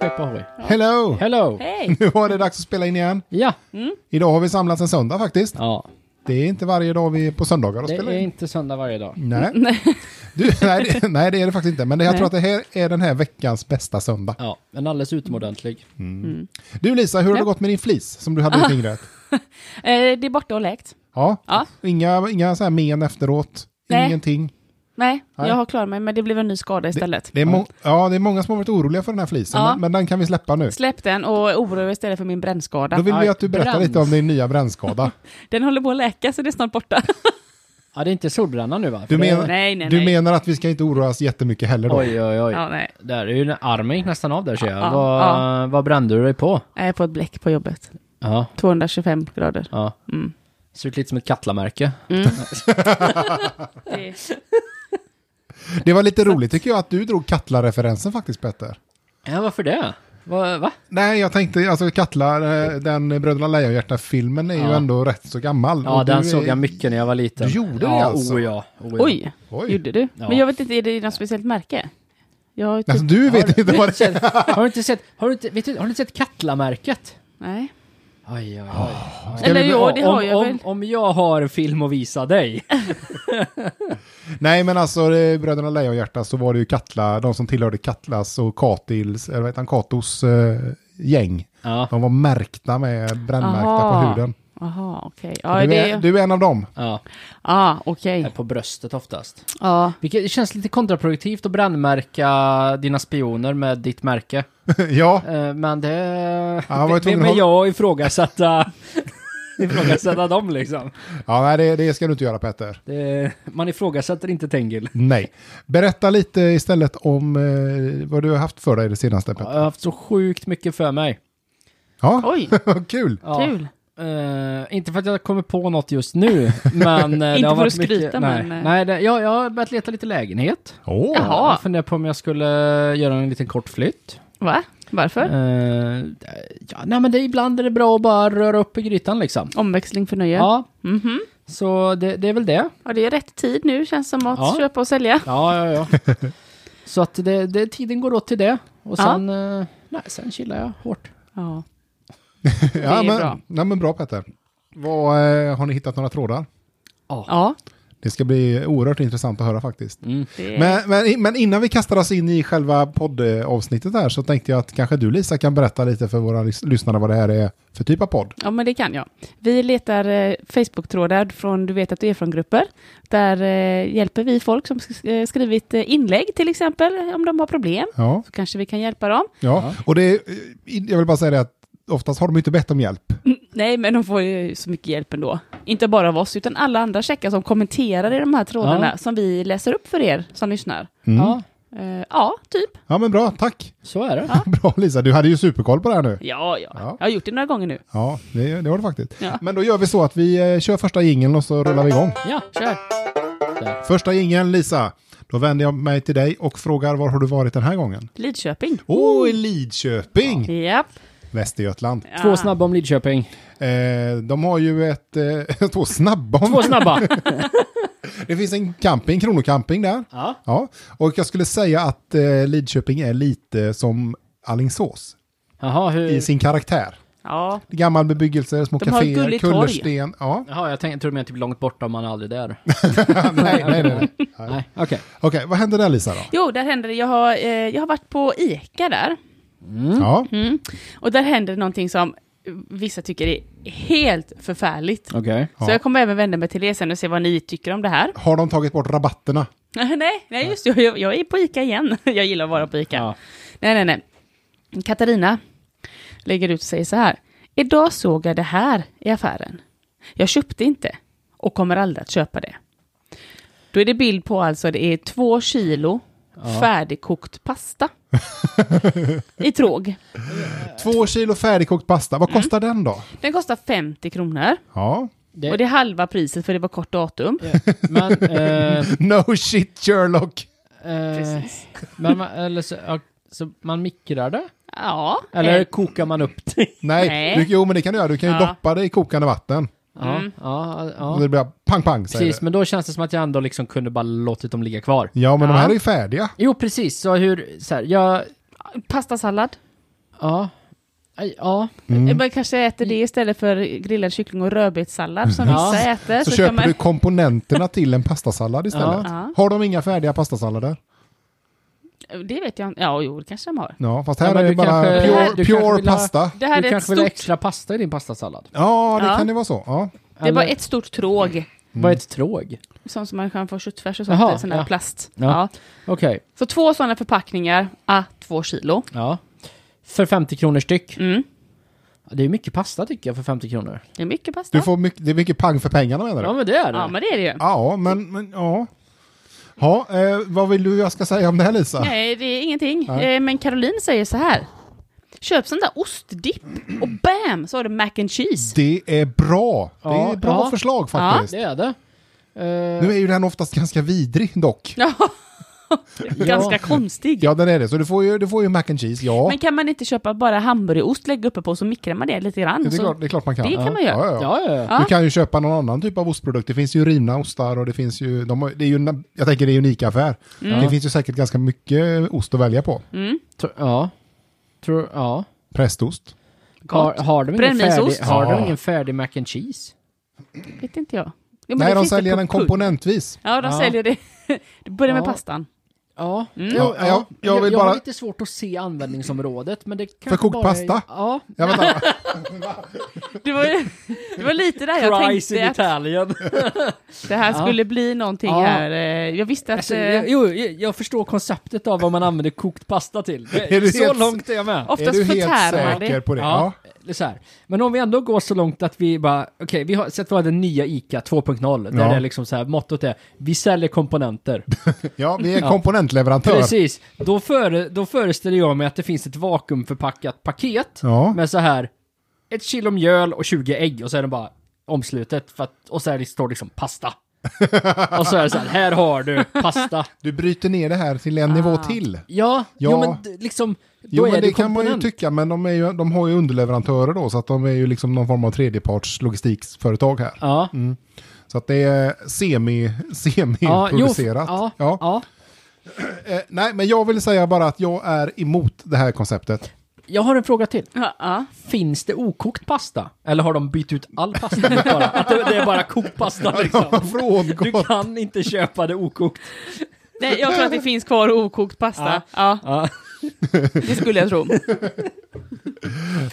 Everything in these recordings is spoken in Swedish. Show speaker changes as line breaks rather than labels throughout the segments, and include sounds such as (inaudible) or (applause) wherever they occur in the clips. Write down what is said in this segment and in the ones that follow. papper har vi.
Hello!
Hello!
Hej!
(laughs) Nu var det dags att spela in igen.
Ja,
Idag har vi samlats en söndag faktiskt.
ja.
Det är inte varje dag vi är på söndagar och
det
spelar
är
in. Mm.
inte söndag varje dag.
(laughs)
Nej. Du, nej, det, nej, det är det faktiskt inte. Men det, jag
Nej.
tror att det här är den här veckans bästa söndag.
Ja, men alldeles utomordentlig.
Du Lisa, hur har
Ja.
det gått med din flis som du hade i fingret?
Eh, det är borta och läkt.
Ja.
Ja.
Inga, inga så här men efteråt?
Nej.
Ingenting?
Nej,
Nej.
jag har klarat mig, men det blev en ny skada istället.
Det är, må- ja, det är många som har varit oroliga för den här flisen,
Ja.
men, men den kan vi släppa nu.
Släpp den och oroa istället för min brännskada.
Då vill vi
Aj,
att du berättar
bränns.
lite om din nya brännskada.
Den håller på att läka, så det är snart borta.
Ja, det är inte solbränna nu va? För
Du,
det-
menar-
Nej, nej,
du
nej.
menar att vi ska inte oroa oss jättemycket heller då?
Oj, oj, oj.
ja, nej.
Där är ju armen gick nästan av där ser jag.
Ja,
vad,
ja.
vad brände du dig på?
Jag är på ett bläck på jobbet.
Ja,
225 grader.
ja. Ser ut lite som ett katlamärke.
Det är-
Det var lite roligt tycker jag att du drog Katla-referensen faktiskt Petter.
Ja, varför det? Va? va?
Nej, jag tänkte, alltså Katla, eh, den Bröderna Lejonhjärta-filmen är ju
Ja.
ändå rätt så gammal.
Ja,
Och
den
du är-
såg jag mycket när jag var liten.
Du gjorde
ja,
det alltså?
Oh, ja, oh, ja. (laughs)
Oj,
Oj.
gjorde du?
Ja.
Men jag vet inte, är det något speciellt märke? Jag har ju typ...
Alltså, du vet inte vad det är.
Har du inte sett, har du inte, vet du, har du inte sett katlamärket?
typ- Nej.
Oj, oj, oj.
Ska
Eller
vi-
jo, det har
om,
jag
om,
väl.
om jag har film att visa dig.
Nej, men alltså eh, Bröderna Lejonhjärta så var det ju Katla, de som tillhörde Katlas och Katils, eller vad heter han, Katos eh, gäng.
Ja,
De var märkta med, brännmärkta på
Aha.
huden.
Jaha, okej. Ja,
du,
det...
är,
Ja,
du är en av dem. (laughs)
ja.
okej.
På bröstet oftast.
Ja.
Vilket det känns lite kontraproduktivt att brännmärka dina spioner med ditt märke.
ja,
Eh, Men det...
han var ju tvungen
vem
att
är
hålla-
jag att ifrågasätta, (laughs) ifrågasätta dem liksom?
ja nej, det, det ska du inte göra Petter.
Det, man ifrågasätter inte Tengil.
Nej. Berätta lite istället om eh, vad du har haft för dig det senaste
Jag
Petter.
har haft så sjukt mycket för mig.
Ja,
Oj,
vad (laughs) kul.
Ja.
kul.
Eh, inte för att jag kommer på något just nu, men...
(laughs)
eh, det
Inte
har
för
varit
att skryta,
mycket,
men,
Nej,
eh.
nej det, jag, jag har börjat leta lite lägenhet.
Åh,
Jaha.
Jag funderar på om jag skulle göra en liten kort flytt.
Va? Varför?
Eh, ja, nej, men det, ibland är det bra att bara röra upp i grytan liksom.
Omväxling för nöje.
Ja,
Mhm.
så det, det är väl det.
Ja, det är rätt tid nu känns som att
Ja.
köpa och sälja.
Ja, ja, ja. (laughs) så att det, det, tiden går åt till det. Och
Ja.
sen, eh, nej, sen chillar jag hårt.
Ja.
ja,
är
men,
bra.
Nej, men bra Petter. Vad, eh, har ni hittat några trådar?
ja
Det ska bli oerhört intressant att höra faktiskt.
Mm.
det...
Men, men, men innan vi kastar oss in i själva poddavsnittet här så tänkte jag att kanske du Lisa kan berätta lite för våra lys- lyssnare vad det här är för typ av podd.
ja, men det kan jag. Vi letar eh, Facebook-trådar från Du vet att du är från-grupper. Där eh, hjälper vi folk som sk- eh, skrivit eh, inlägg till exempel, eh, om de har problem.
Ja,
Så kanske vi kan hjälpa dem.
ja. och det är, jag vill bara säga det att oftast har de ju inte bett om hjälp.
Nej, men de får ju så mycket hjälp ändå. Inte bara av oss, utan alla andra checkar som kommenterar i de här trådarna
Ja.
som vi läser upp för er som lyssnar.
Mm.
Ja,
Eh, ja, typ.
Ja men bra, tack.
så är det.
(laughs) Bra Lisa, du hade ju superkoll på det här nu.
Ja, ja,
Ja.
Jag har gjort det några gånger nu.
Ja, det, det var det faktiskt.
Ja.
Men då gör vi så att vi eh, kör första jingeln och så rullar vi igång.
Ja, kör.
Första jingeln Lisa, då vänder jag mig till dig och frågar var har du varit den här gången?
Lidköping.
Åh, oh, i Lidköping!
Japp.
Västergötland.
Oh. Två
Ja.
snabba om Lidköping.
Eh, de har ju ett... Eh, (laughs) två snabba.
Två snabba. (laughs)
Det finns en camping, Kronocamping där.
ja.
Ja. Och jag skulle säga att eh, Lidköping är lite som Alingsås
Jaha,
i
hur...
sin karaktär.
Ja,
Gammal bebyggelse, små
Mm. De har ett
kaféer,
gulligt torg.
kullersten. Ja.
Jaha, jag tänkte, tror du menar typ långt borta om man aldrig är där.
(laughs) nej, nej, nej. nej.
Nej, okej.
Okej, vad händer där Lisa då?
Jo, där händer det. Jag har, eh, jag har varit på ICA där.
Ja.
Mm. Och där händer det någonting som vissa tycker är helt förfärligt.
Okej.
Ja.
Så jag kommer även vända mig till er sen och se vad ni tycker om det här. (laughs)
Har de tagit bort rabatterna?
nej, nej, just det. Jag, jag är på ICA igen. (laughs) jag gillar att vara på ICA.
Ja.
Nej, nej, nej. Katarina lägger ut och säger så här. Idag såg jag det här i affären. Jag köpte inte och kommer aldrig att köpa det. Då är det bild på alltså det är två kilo färdigkokt pasta. I tråg. Eh.
Två kilo färdigkokt pasta,
Mm.
vad kostar den då?
Den kostar 50 kronor.
Ja.
Det-
Och det är halva priset för det var kort datum.
(laughs) Men, (laughs) eh,
No shit Sherlock!
eh,
Precis.
men man, eller så, ja, så man mikrar det?
Ja.
Eller
eh,
kokar man upp det?
Nej,
Nej.
Du, jo men det kan du göra, du kan ju
Ja.
doppa det i kokande vatten.
Ja,
(laughs) Mm.
ja,
Och
ja.
det blir pang pang säger
Precis,
det.
men då känns det som att jag ändå liksom kunde bara låtit dem ligga kvar.
Ja men de
Ja.
här är ju färdiga.
Jo, precis. Så hur, så här, jag...
eh, Pastasallad. Eh,
Ja. Aj, Ja.
Mm.
Man kanske äter det istället för grillad kyckling och rödbetssallad som
Ja.
vissa äter.
Mm. Så,
kan
köper
man-
du komponenterna till en pastasallad istället.
Ja.
Har de inga färdiga pastasallader?
Det vet jag inte. Ja, jo, det kanske de har.
Ja, fast
Ja,
här
men
är det
du
bara
kanske-
du
pure,
kanske
pure
vill ha-
pasta.
Det här
du
är ett
kanske vill ha
stort...
extra pasta i din pastasallad?
Ja, det
Ja.
kan det vara så. Ja.
Det var
Eller-
ett stort tråg.
Vad är ett tråg?
Sånt som man kan få köttfärs och sånt
Jaha,
i, sån där
ja.
plast.
Ja.
Ja.
Okej.
Så två sådana förpackningar, ah, två kilo.
Ja. För 50 kronor styck.
Mm.
Det är mycket pasta tycker jag för 50 kronor.
Det är mycket pasta.
Du får mycket, det är mycket pang för pengarna menar du?
Ja men det är det.
Ja, men det är det ju.
Ja, men, men ja. Ja, eh, vad vill du jag ska säga om det här Lisa?
Nej, det är ingenting.
Nej.
Eh, men Caroline säger så här. Köp sån där ostdipp och bam så har du mac and cheese.
Det är bra. det
Ja,
är bra
ja.
förslag faktiskt.
Det är det. Eh,
Nu är ju den oftast ganska vidrig dock.
Ja. Ganska konstig.
Ja, den är det. Så du får ju, du får ju mac and cheese, ja.
Men kan man inte köpa bara hamburgerost, lägga uppe på så mikrar man det lite grann?
det, är
så
klart, det är klart man kan.
Alltså, det kan man göra.
Ja, ja, ja.
ja, ja, ja.
Ja.
Du kan ju köpa någon annan typ av ostprodukt. Det finns ju rivna ostar och det finns ju, de, har- det är ju en- jag tänker det är en Ica-affär.
Mm.
Det finns ju säkert ganska mycket ost att välja på.
Tr- ja. Tror, ja.
Prästost.
Har,
gott.
har, de ingen
Brännvinsost.
färdig, har de
Ja.
ingen färdig mac and cheese?
Vet inte jag. Jo, men det
Nej, de
finns det
säljer
på
den
pub.
komponentvis.
Ja, de
Ja.
säljer det. Det börjar med
Ja.
pastan.
Ja.
Ja, jag, jag,
Jag,
vill
Mm. jag
bara...
har lite svårt att se användningsområdet, men det kanske
kokt
bara...
pasta?
Ja.
Ja, vänta.
Det var, det var lite där jag tänkte att
Italien.
det här
Ja.
skulle bli någonting
Ja.
här. Eh, Jag visste att...
(laughs) Alltså,
eh,
jag, jo, jag jag förstår konceptet av vad man använder kokt pasta till. Det,
(laughs) Är du
så
helt-
långt är jag med.
är
(laughs) Oftast
du helt
förtär man
säker
det.
på det? Ja.
Ja, eller så här. Men om vi ändå går så långt att vi bara, okej, vi har sett vad den nya ICA 2.0, där
Ja.
det är liksom så här, mottot är, vi säljer komponenter.
Ja. vi är komponentleverantör.
Precis, då, före, då föreställer jag mig att det finns ett vakuumförpackat paket
Ja.
med så här, ett kilo mjöl och 20 ägg och så är det bara omslutet, för att, och så här, det står liksom
(laughs)
pasta. och så är det så här, här har du pasta.
Du bryter ner det här till en
Ah.
nivå till.
Ja, jo
Ja.
men d- liksom, då
Jo,
är
men
det,
det kan man ju
komponent.
tycka, men de, är ju, de har ju underleverantörer då, så att de är ju liksom någon form av tredjeparts logistiksföretag här.
Ja,
Så att det är semi,
ja, jo, f-
semi-producerat.
ja,
Ja.
ja.
Eh, nej, men jag vill säga bara att jag är emot det här konceptet.
Jag har en fråga till.
Ja, ja.
Finns det okokt pasta? Eller har de bytt ut all pasta mot bara? Att det, det är bara kokt
(laughs)
pasta liksom. Du
Frångått.
kan inte köpa det okokt.
Nej, jag tror att det finns kvar okokt pasta. Ja.
Ja.
(laughs) det skulle jag tro.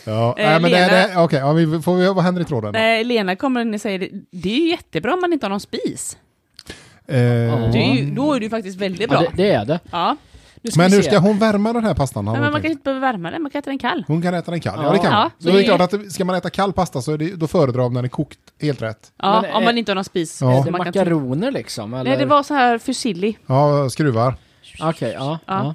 Ja,
Eh,
nej, men det,
Lena-
det, okej, ja, vi, får vi, vad händer i tråden? då?
Nej, Lena kommer in och säger det, det är ju jättebra om man inte har någon spis.
Eh,
Ja.
Det är ju, då är det ju faktiskt väldigt bra.
det, det är det.
Ja.
Nu
men
vi
hur
se.
ska hon värma den här pastan? har
Men
hon
man
tänkt?
kanske inte behöver värma den, man kan äta den kall.
Hon kan äta den kall, ja,
Ja.
det kan
Ja,
hon. Så
så
det är
det-
klart att det- ska man äta kall pasta så är det, då föredrar man när den är kokt, helt rätt.
Ja,
Men,
om
eh,
man inte har någon spis.
Ja.
som
Är det
Alltså, man kan typ-
makaroner liksom? Eller?
Nej, det var så här fusilli.
Ja, skruvar.
Okej, ja, ja.
Ja.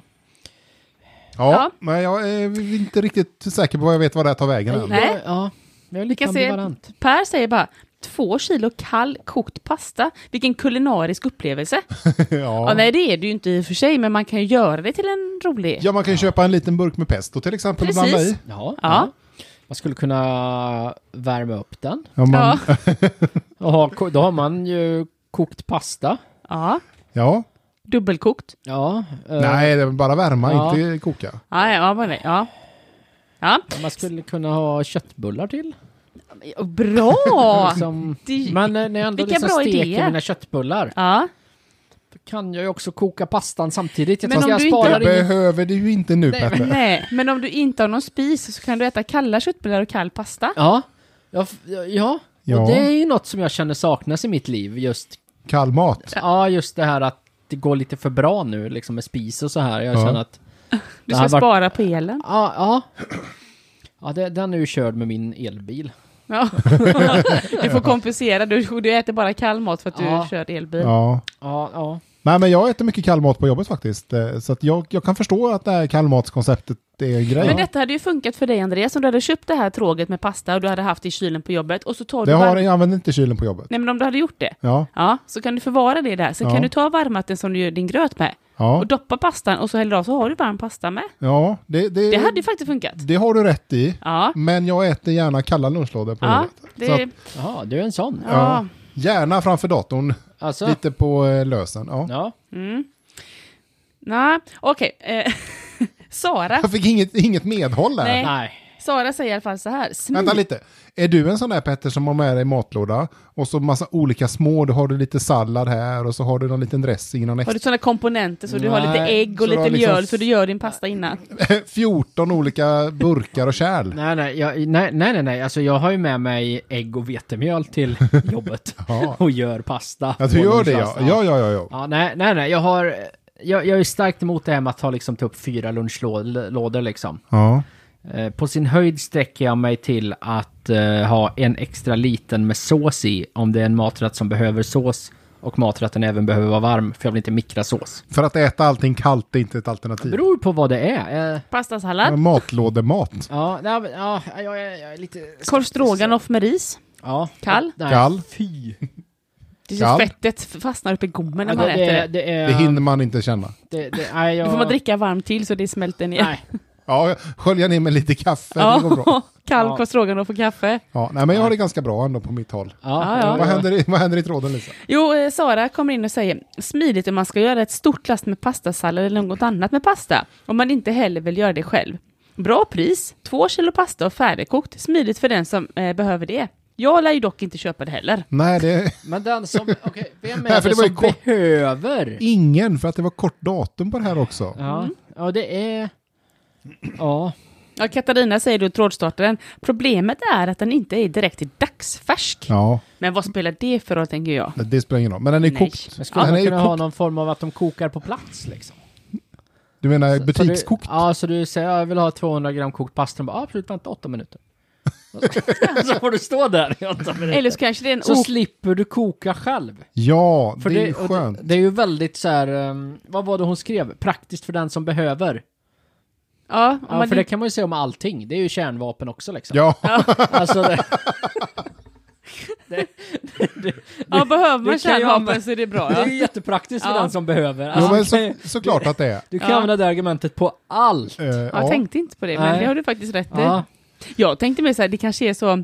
Ja,
Ja.
men jag är inte riktigt säker på vad jag vet vad det här tar vägen än.
Nej.
Ja, ja. Jag är
Vi
lite
kan se,
ambivalent.
Per säger bara, två kilo kall kokt pasta. Vilken kulinarisk upplevelse. Ja.
(laughs) ja.
nej, det är det ju inte i och för sig, men man kan ju göra det till en rolig...
ja, man kan ju köpa en liten burk med pesto till exempel och blanda
Precis.
i.
Ja, ja.
Ja.
Man skulle kunna värma upp den.
Ja, man, ja.
Ja.
Och ha, ko- då har man ju kokt pasta.
ja.
ja.
Dubbelkokt.
Ja. eh,
Nej, det är bara värma,
Ja.
inte koka.
Ja, ja, vad det- ja. ja.
Man skulle kunna ha köttbullar till. (laughs)
Bra!
Liksom.
Det-
Men eh, när jag ändå
Vilka
liksom
bra
steker
idéer.
mina köttbullar
Ja.
kan jag ju också koka pastan samtidigt. Jag
Men
tror
om
jag
du inte-
sparar
Det
inte... in...
behöver du ju inte nu Petter.
Nej, men om du inte har någon spis så kan du äta kalla köttbullar och kall pasta.
Ja. Ja, f- ja, ja.
Ja.
Och det är ju något som jag känner saknas i mitt liv. Just,
Kall mat.
ja, just det här att det går lite för bra nu liksom med spis och så här. Jag
Ja.
känner att...
Du
Det
ska
här var-
spara på elen.
Ja, ja. Ja, det, den är ju körd med min elbil.
(laughs)
Ja. Du får kompensera, du, du äter bara kall mat för att du
Ja.
kör elbil.
Ja.
Ja, ja.
Nej, men jag äter mycket kall mat på jobbet faktiskt. eh, Så att jag, jag kan förstå att det här kallmatskonceptet är en grej.
Men detta hade ju funkat för dig Andreas, om du hade köpt det här tråget med pasta och du hade haft det i kylen på jobbet och så tar
det
du
har,
varm...
jag använder inte kylen på jobbet.
Nej men om du hade gjort det,
Ja,
ja, så kan du förvara det där. Så
Ja.
kan du ta varmvatten som du gör din gröt med
ja,
och doppa pastan och så häller du av så har du varm pasta med.
ja. Det, det,
Det hade ju faktiskt funkat.
det har du rätt i.
Ja,
Men jag äter gärna kalla lunchlådor på
ja,
jobbet. Mm. Så att-
det,
Jaha, du är en sån.
Ja.
ja.
Gärna framför datorn,
Alltså,
lite på eh, lösen. Ja.
ja.
Mm. Nej, okej. Eh, (laughs) Sara,
Jag fick inget, inget medhåll där.
Nej.
Nej.
Sara säger i alla fall så här. Smid.
Vänta lite. Är du en sån där Petter som har med dig matlåda och så massa olika små, då har du lite sallad här och så har du någon liten dressing, någon
Har
extra.
du sådana komponenter så du har lite
Nej,
ägg och
så du har
lite
liksom-
mjöl så du gör din pasta innan?
(laughs) 14 olika burkar och kärl.
Nej, nej, jag, nej, nej, nej, nej, alltså jag har ju med mig ägg och vetemjöl
(laughs)
till jobbet.
Ja.
Och gör pasta.
Ja, du gör det ja.
Honungssalsa.
Ja, ja, ja. ja.
Ja, nej, nej, nej, jag har... Jag, jag är starkt emot det här med att ta liksom typ fyra lunchlådor liksom.
ja.
Eh, På sin höjd sträcker jag mig till att eh, ha en extra liten med sås i om det är en maträtt som behöver sås och maträtten även behöver vara varm för jag vill inte mikra sås.
För att äta allting kallt är inte ett alternativ.
Beror på vad det är. Eh,
Ja,
Pastasallad,
Matlådemat.
Ja, nej, men, ja jag, är, jag är lite...
korv stroganoff med ris.
Ja.
Kall?
Nej,
Kall.
Fy.
Det är
Kall.
så fettet fastnar upp i gommen när
Ja,
man
det,
äter
det,
det.
det är...
Det hinner man inte känna.
det, det, nej, jag,
Då får man dricka varmt till så det smälter ner.
Nej,
Ja, skölja ner med lite kaffe, det går bra.
Ja, (laughs) kall
Ja.
korv stroganoff och kaffe.
Ja, nej, men jag har det ganska bra ändå på mitt håll.
ja,
Ja, ja.
Vad händer, i- vad händer i tråden Lisa?
Jo, eh, Sara kommer in och säger smidigt om man ska göra ett stort last med pastasallad eller något annat med pasta, om man inte heller vill göra det själv. Bra pris, två kilo pasta och färdigkokt, smidigt för den som eh, behöver det. Jag lär ju dock inte köpa det heller.
Nej, det,
Men den som... Okej, vem är
Nej, för
det,
det var ju
som
kort.
behöver?
Ingen, för att det var kort datum på det här också.
Ja, ja, det är... Ja.
Ja, Katarina säger då trådstartaren, problemet är att den inte är direkt dagsfärsk.
Ja,
Men vad spelar det för roll, tänker jag?
det spelar ingen roll. Men den är
Nej.
kokt.
Men skulle
Den är
man
ju
kunna ha
kokt.
någon form av att de kokar på plats liksom?
Du menar
Så du-
butikskokt?
Alltså, Ja, så du säger "Ja, jag vill ha 200 gram kokt pasta. De bara, "Ja, absolut, vänta 8 minuter. (laughs) så får du stå där i 8 minuter.
Eller Oh. så kanske det är en
Mm. Så
o-
slipper du koka själv.
Ja,
För
det är
det,
ju
och
skönt.
Det, det är ju väldigt så här, ehm, vad var det hon skrev? Praktiskt för den som behöver.
Ja, om
Ja,
man
för det
inte-
kan man ju säga om allting. Det är ju kärnvapen också liksom.
Ja,
(laughs) Alltså, det,
ja, behöver man
det kan ju anvä-
kärnvapen så är det bra.
det är (laughs)
Ja.
ju jättepraktiskt för
Ja.
den som behöver.
jo,
Alltså,
men
du kan ju-
så, såklart att det är.
du kan
Ja.
använda det argumentet på allt.
Eh,
Ja, Jag
ja.
tänkte inte på det, men
Nej.
det har du faktiskt rätt i.
Ja.
Jag tänkte mer så här, det kanske är så,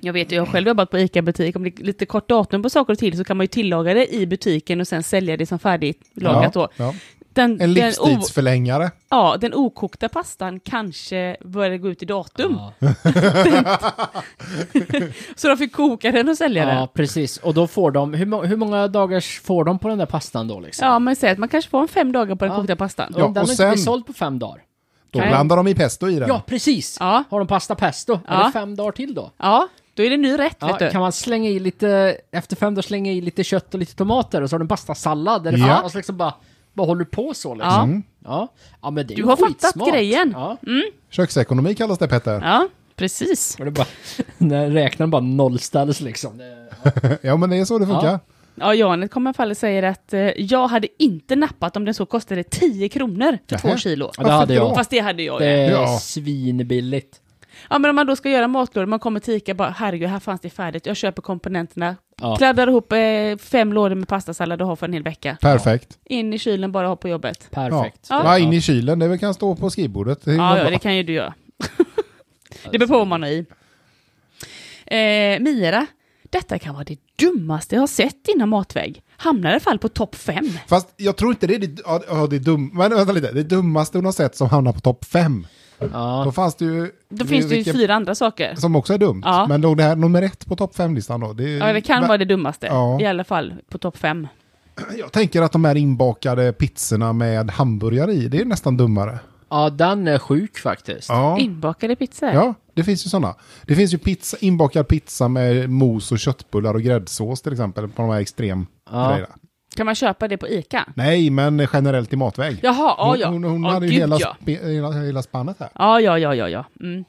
jag vet ju, jag har själv jobbat på ICA-butik, om det är lite kort datum på saker och till så kan man ju tillaga det i butiken och sen sälja det som färdiglagat
ja,
då.
ja.
Den,
En
den, o,
livstidsförlängare.
ja, den okokta pastan kanske började gå ut i datum,
Ja.
(laughs) så de fick koka den och sälja den.
Ja, precis. Och då får de, hur, må- hur många dagars får de på den där pastan då liksom?
Ja, men säg att man kanske får en fem dagar på den
Ja.
kokta pastan.
Om
Ja,
den
och
inte
sen-
blir såld på fem dagar.
Då
Nej.
blandar de i pesto i den.
Ja, precis!
Ja.
Har de pasta pesto? Är
Ja.
det fem dagar till då?
Ja, då är det ny rätt,
Ja,
vet du.
kan man slänga i lite, efter fem dagar slänga i lite kött och lite tomater och så har du en pastasallad där det
Ja. Mm.
fanns liksom bara, bara håller på så liksom.
Ja.
Ja. Ja. men det är
Du
ju
har fattat
skitsmart.
grejen. Mm.
Ja.
Köksekonomi kallas det Petter.
Ja, precis.
Och det bara, (laughs) när räknaren bara nollställs liksom. Det-
Ja, men det är så det funkar.
Ja.
Ja, Janet kommer i alla fall och säger att eh, jag hade inte nappat om den så kostade 10 kronor för två
Nähä.
kilo.
Ja, det hade
Varför då?
jag.
Fast det hade jag
Det
ju.
är
Ja.
svinbilligt.
Ja men om man då ska göra matlådor, man kommer till Ica bara herregud, här fanns det färdigt, jag köper komponenterna.
Ja.
Kladdar ihop eh, fem lådor med pastasallad och har för en hel vecka.
Perfekt.
In i kylen, bara ha på jobbet.
Perfekt.
Ja. Ja, in i kylen, det kan stå på skrivbordet. Det är
Ja, ja,
bra.
det kan ju
(laughs)
du göra. det beror på vad man har i. Eh, Mira, detta kan vara det dummaste jag har sett innan matväg. Hamnar i alla fall på topp fem.
Fast jag tror inte det är det, ja, ja, det, är dum, men, vänta lite. det dummaste hon har sett som hamnar på topp fem.
Ja.
Då fanns det ju...
Då finns det ju
vilken-
fyra andra saker.
Som också är dumt.
Ja.
Men låg det här nummer ett på topp fem-listan då? Det,
Ja, det kan
men-
vara det dummaste.
Ja.
I alla fall på topp fem.
Jag tänker att de här inbakade pizzorna med hamburgare i, det är nästan dummare.
Ja, den är sjuk faktiskt.
Ja,
Inbakade pizzor.
ja det finns ju sådana. Det finns ju pizza, inbakad pizza med mos och köttbullar och gräddsås till exempel på de här extrem
Ja.
grejerna.
Kan man köpa det på Ica?
Nej, men generellt i matväg.
Jaha, ja,
hon,
ja.
hon, hon
Ja,
hade ju
gud,
hela,
ja.
spe, hela, hela spannet här.
Ja, ja, ja, ja, ja. Mm.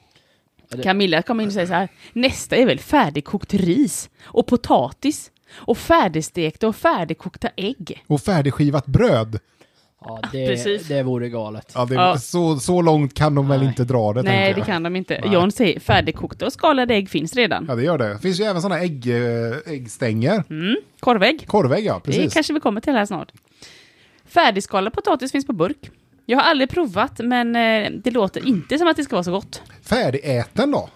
det-
Camilla kommer in och säger så här. Nästa är väl färdigkokt ris och potatis och färdigstekta och färdigkokta ägg.
Och färdigskivat bröd.
Ja, det,
Precis.
det vore galet.
Ja, det,
Ja.
Så, så långt kan de väl inte dra det, tänker
Nej,
jag.
det kan de inte. John säger färdigkokta och skalade ägg finns redan.
Ja, det gör det. Det finns ju även sådana ägg, eh, äggstänger.
Korvägg.
Korvägg, ja.
Mm. Det
Precis.
kanske vi kommer till här snart. Färdigskalad potatis finns på burk. Jag har aldrig provat, men eh, det låter inte som att det ska vara så gott.
Färdigäten då?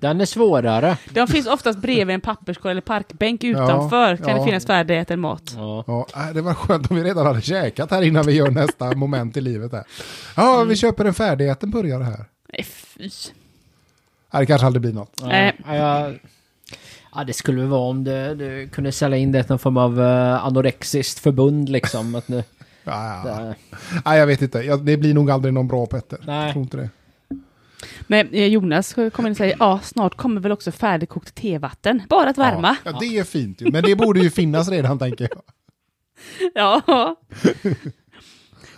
Den är svårare.
De finns oftast bredvid en papperskorg eller parkbänk utanför. kan det
ja.
finnas färdigäten mat.
Ja.
Ja, äh, det var skönt om vi redan hade käkat här innan vi gör
(laughs)
nästa moment i livet. Här. Ja,
Mm.
vi köper en färdigheten burgare här.
Nej, Eh, fy. Eh,
Ja, det kanske aldrig blir något.
Nej.
Nej.
Ja, jag- ja, det skulle väl vara om du, du kunde sälja in det i någon form av eh, anorexiskt förbund liksom. Att nu,
Ja, ja.
där.
Nej, jag vet inte. Ja, det blir nog aldrig någon bra Petter.
Nej.
Jag tror inte det.
Nej, eh, Jonas kommer in och säger, ja, snart kommer väl också färdigkokt tevatten. Bara att värma.
Ja, det är fint ju. Men det borde ju finnas redan, tänker jag.
(laughs) Ja.
(laughs)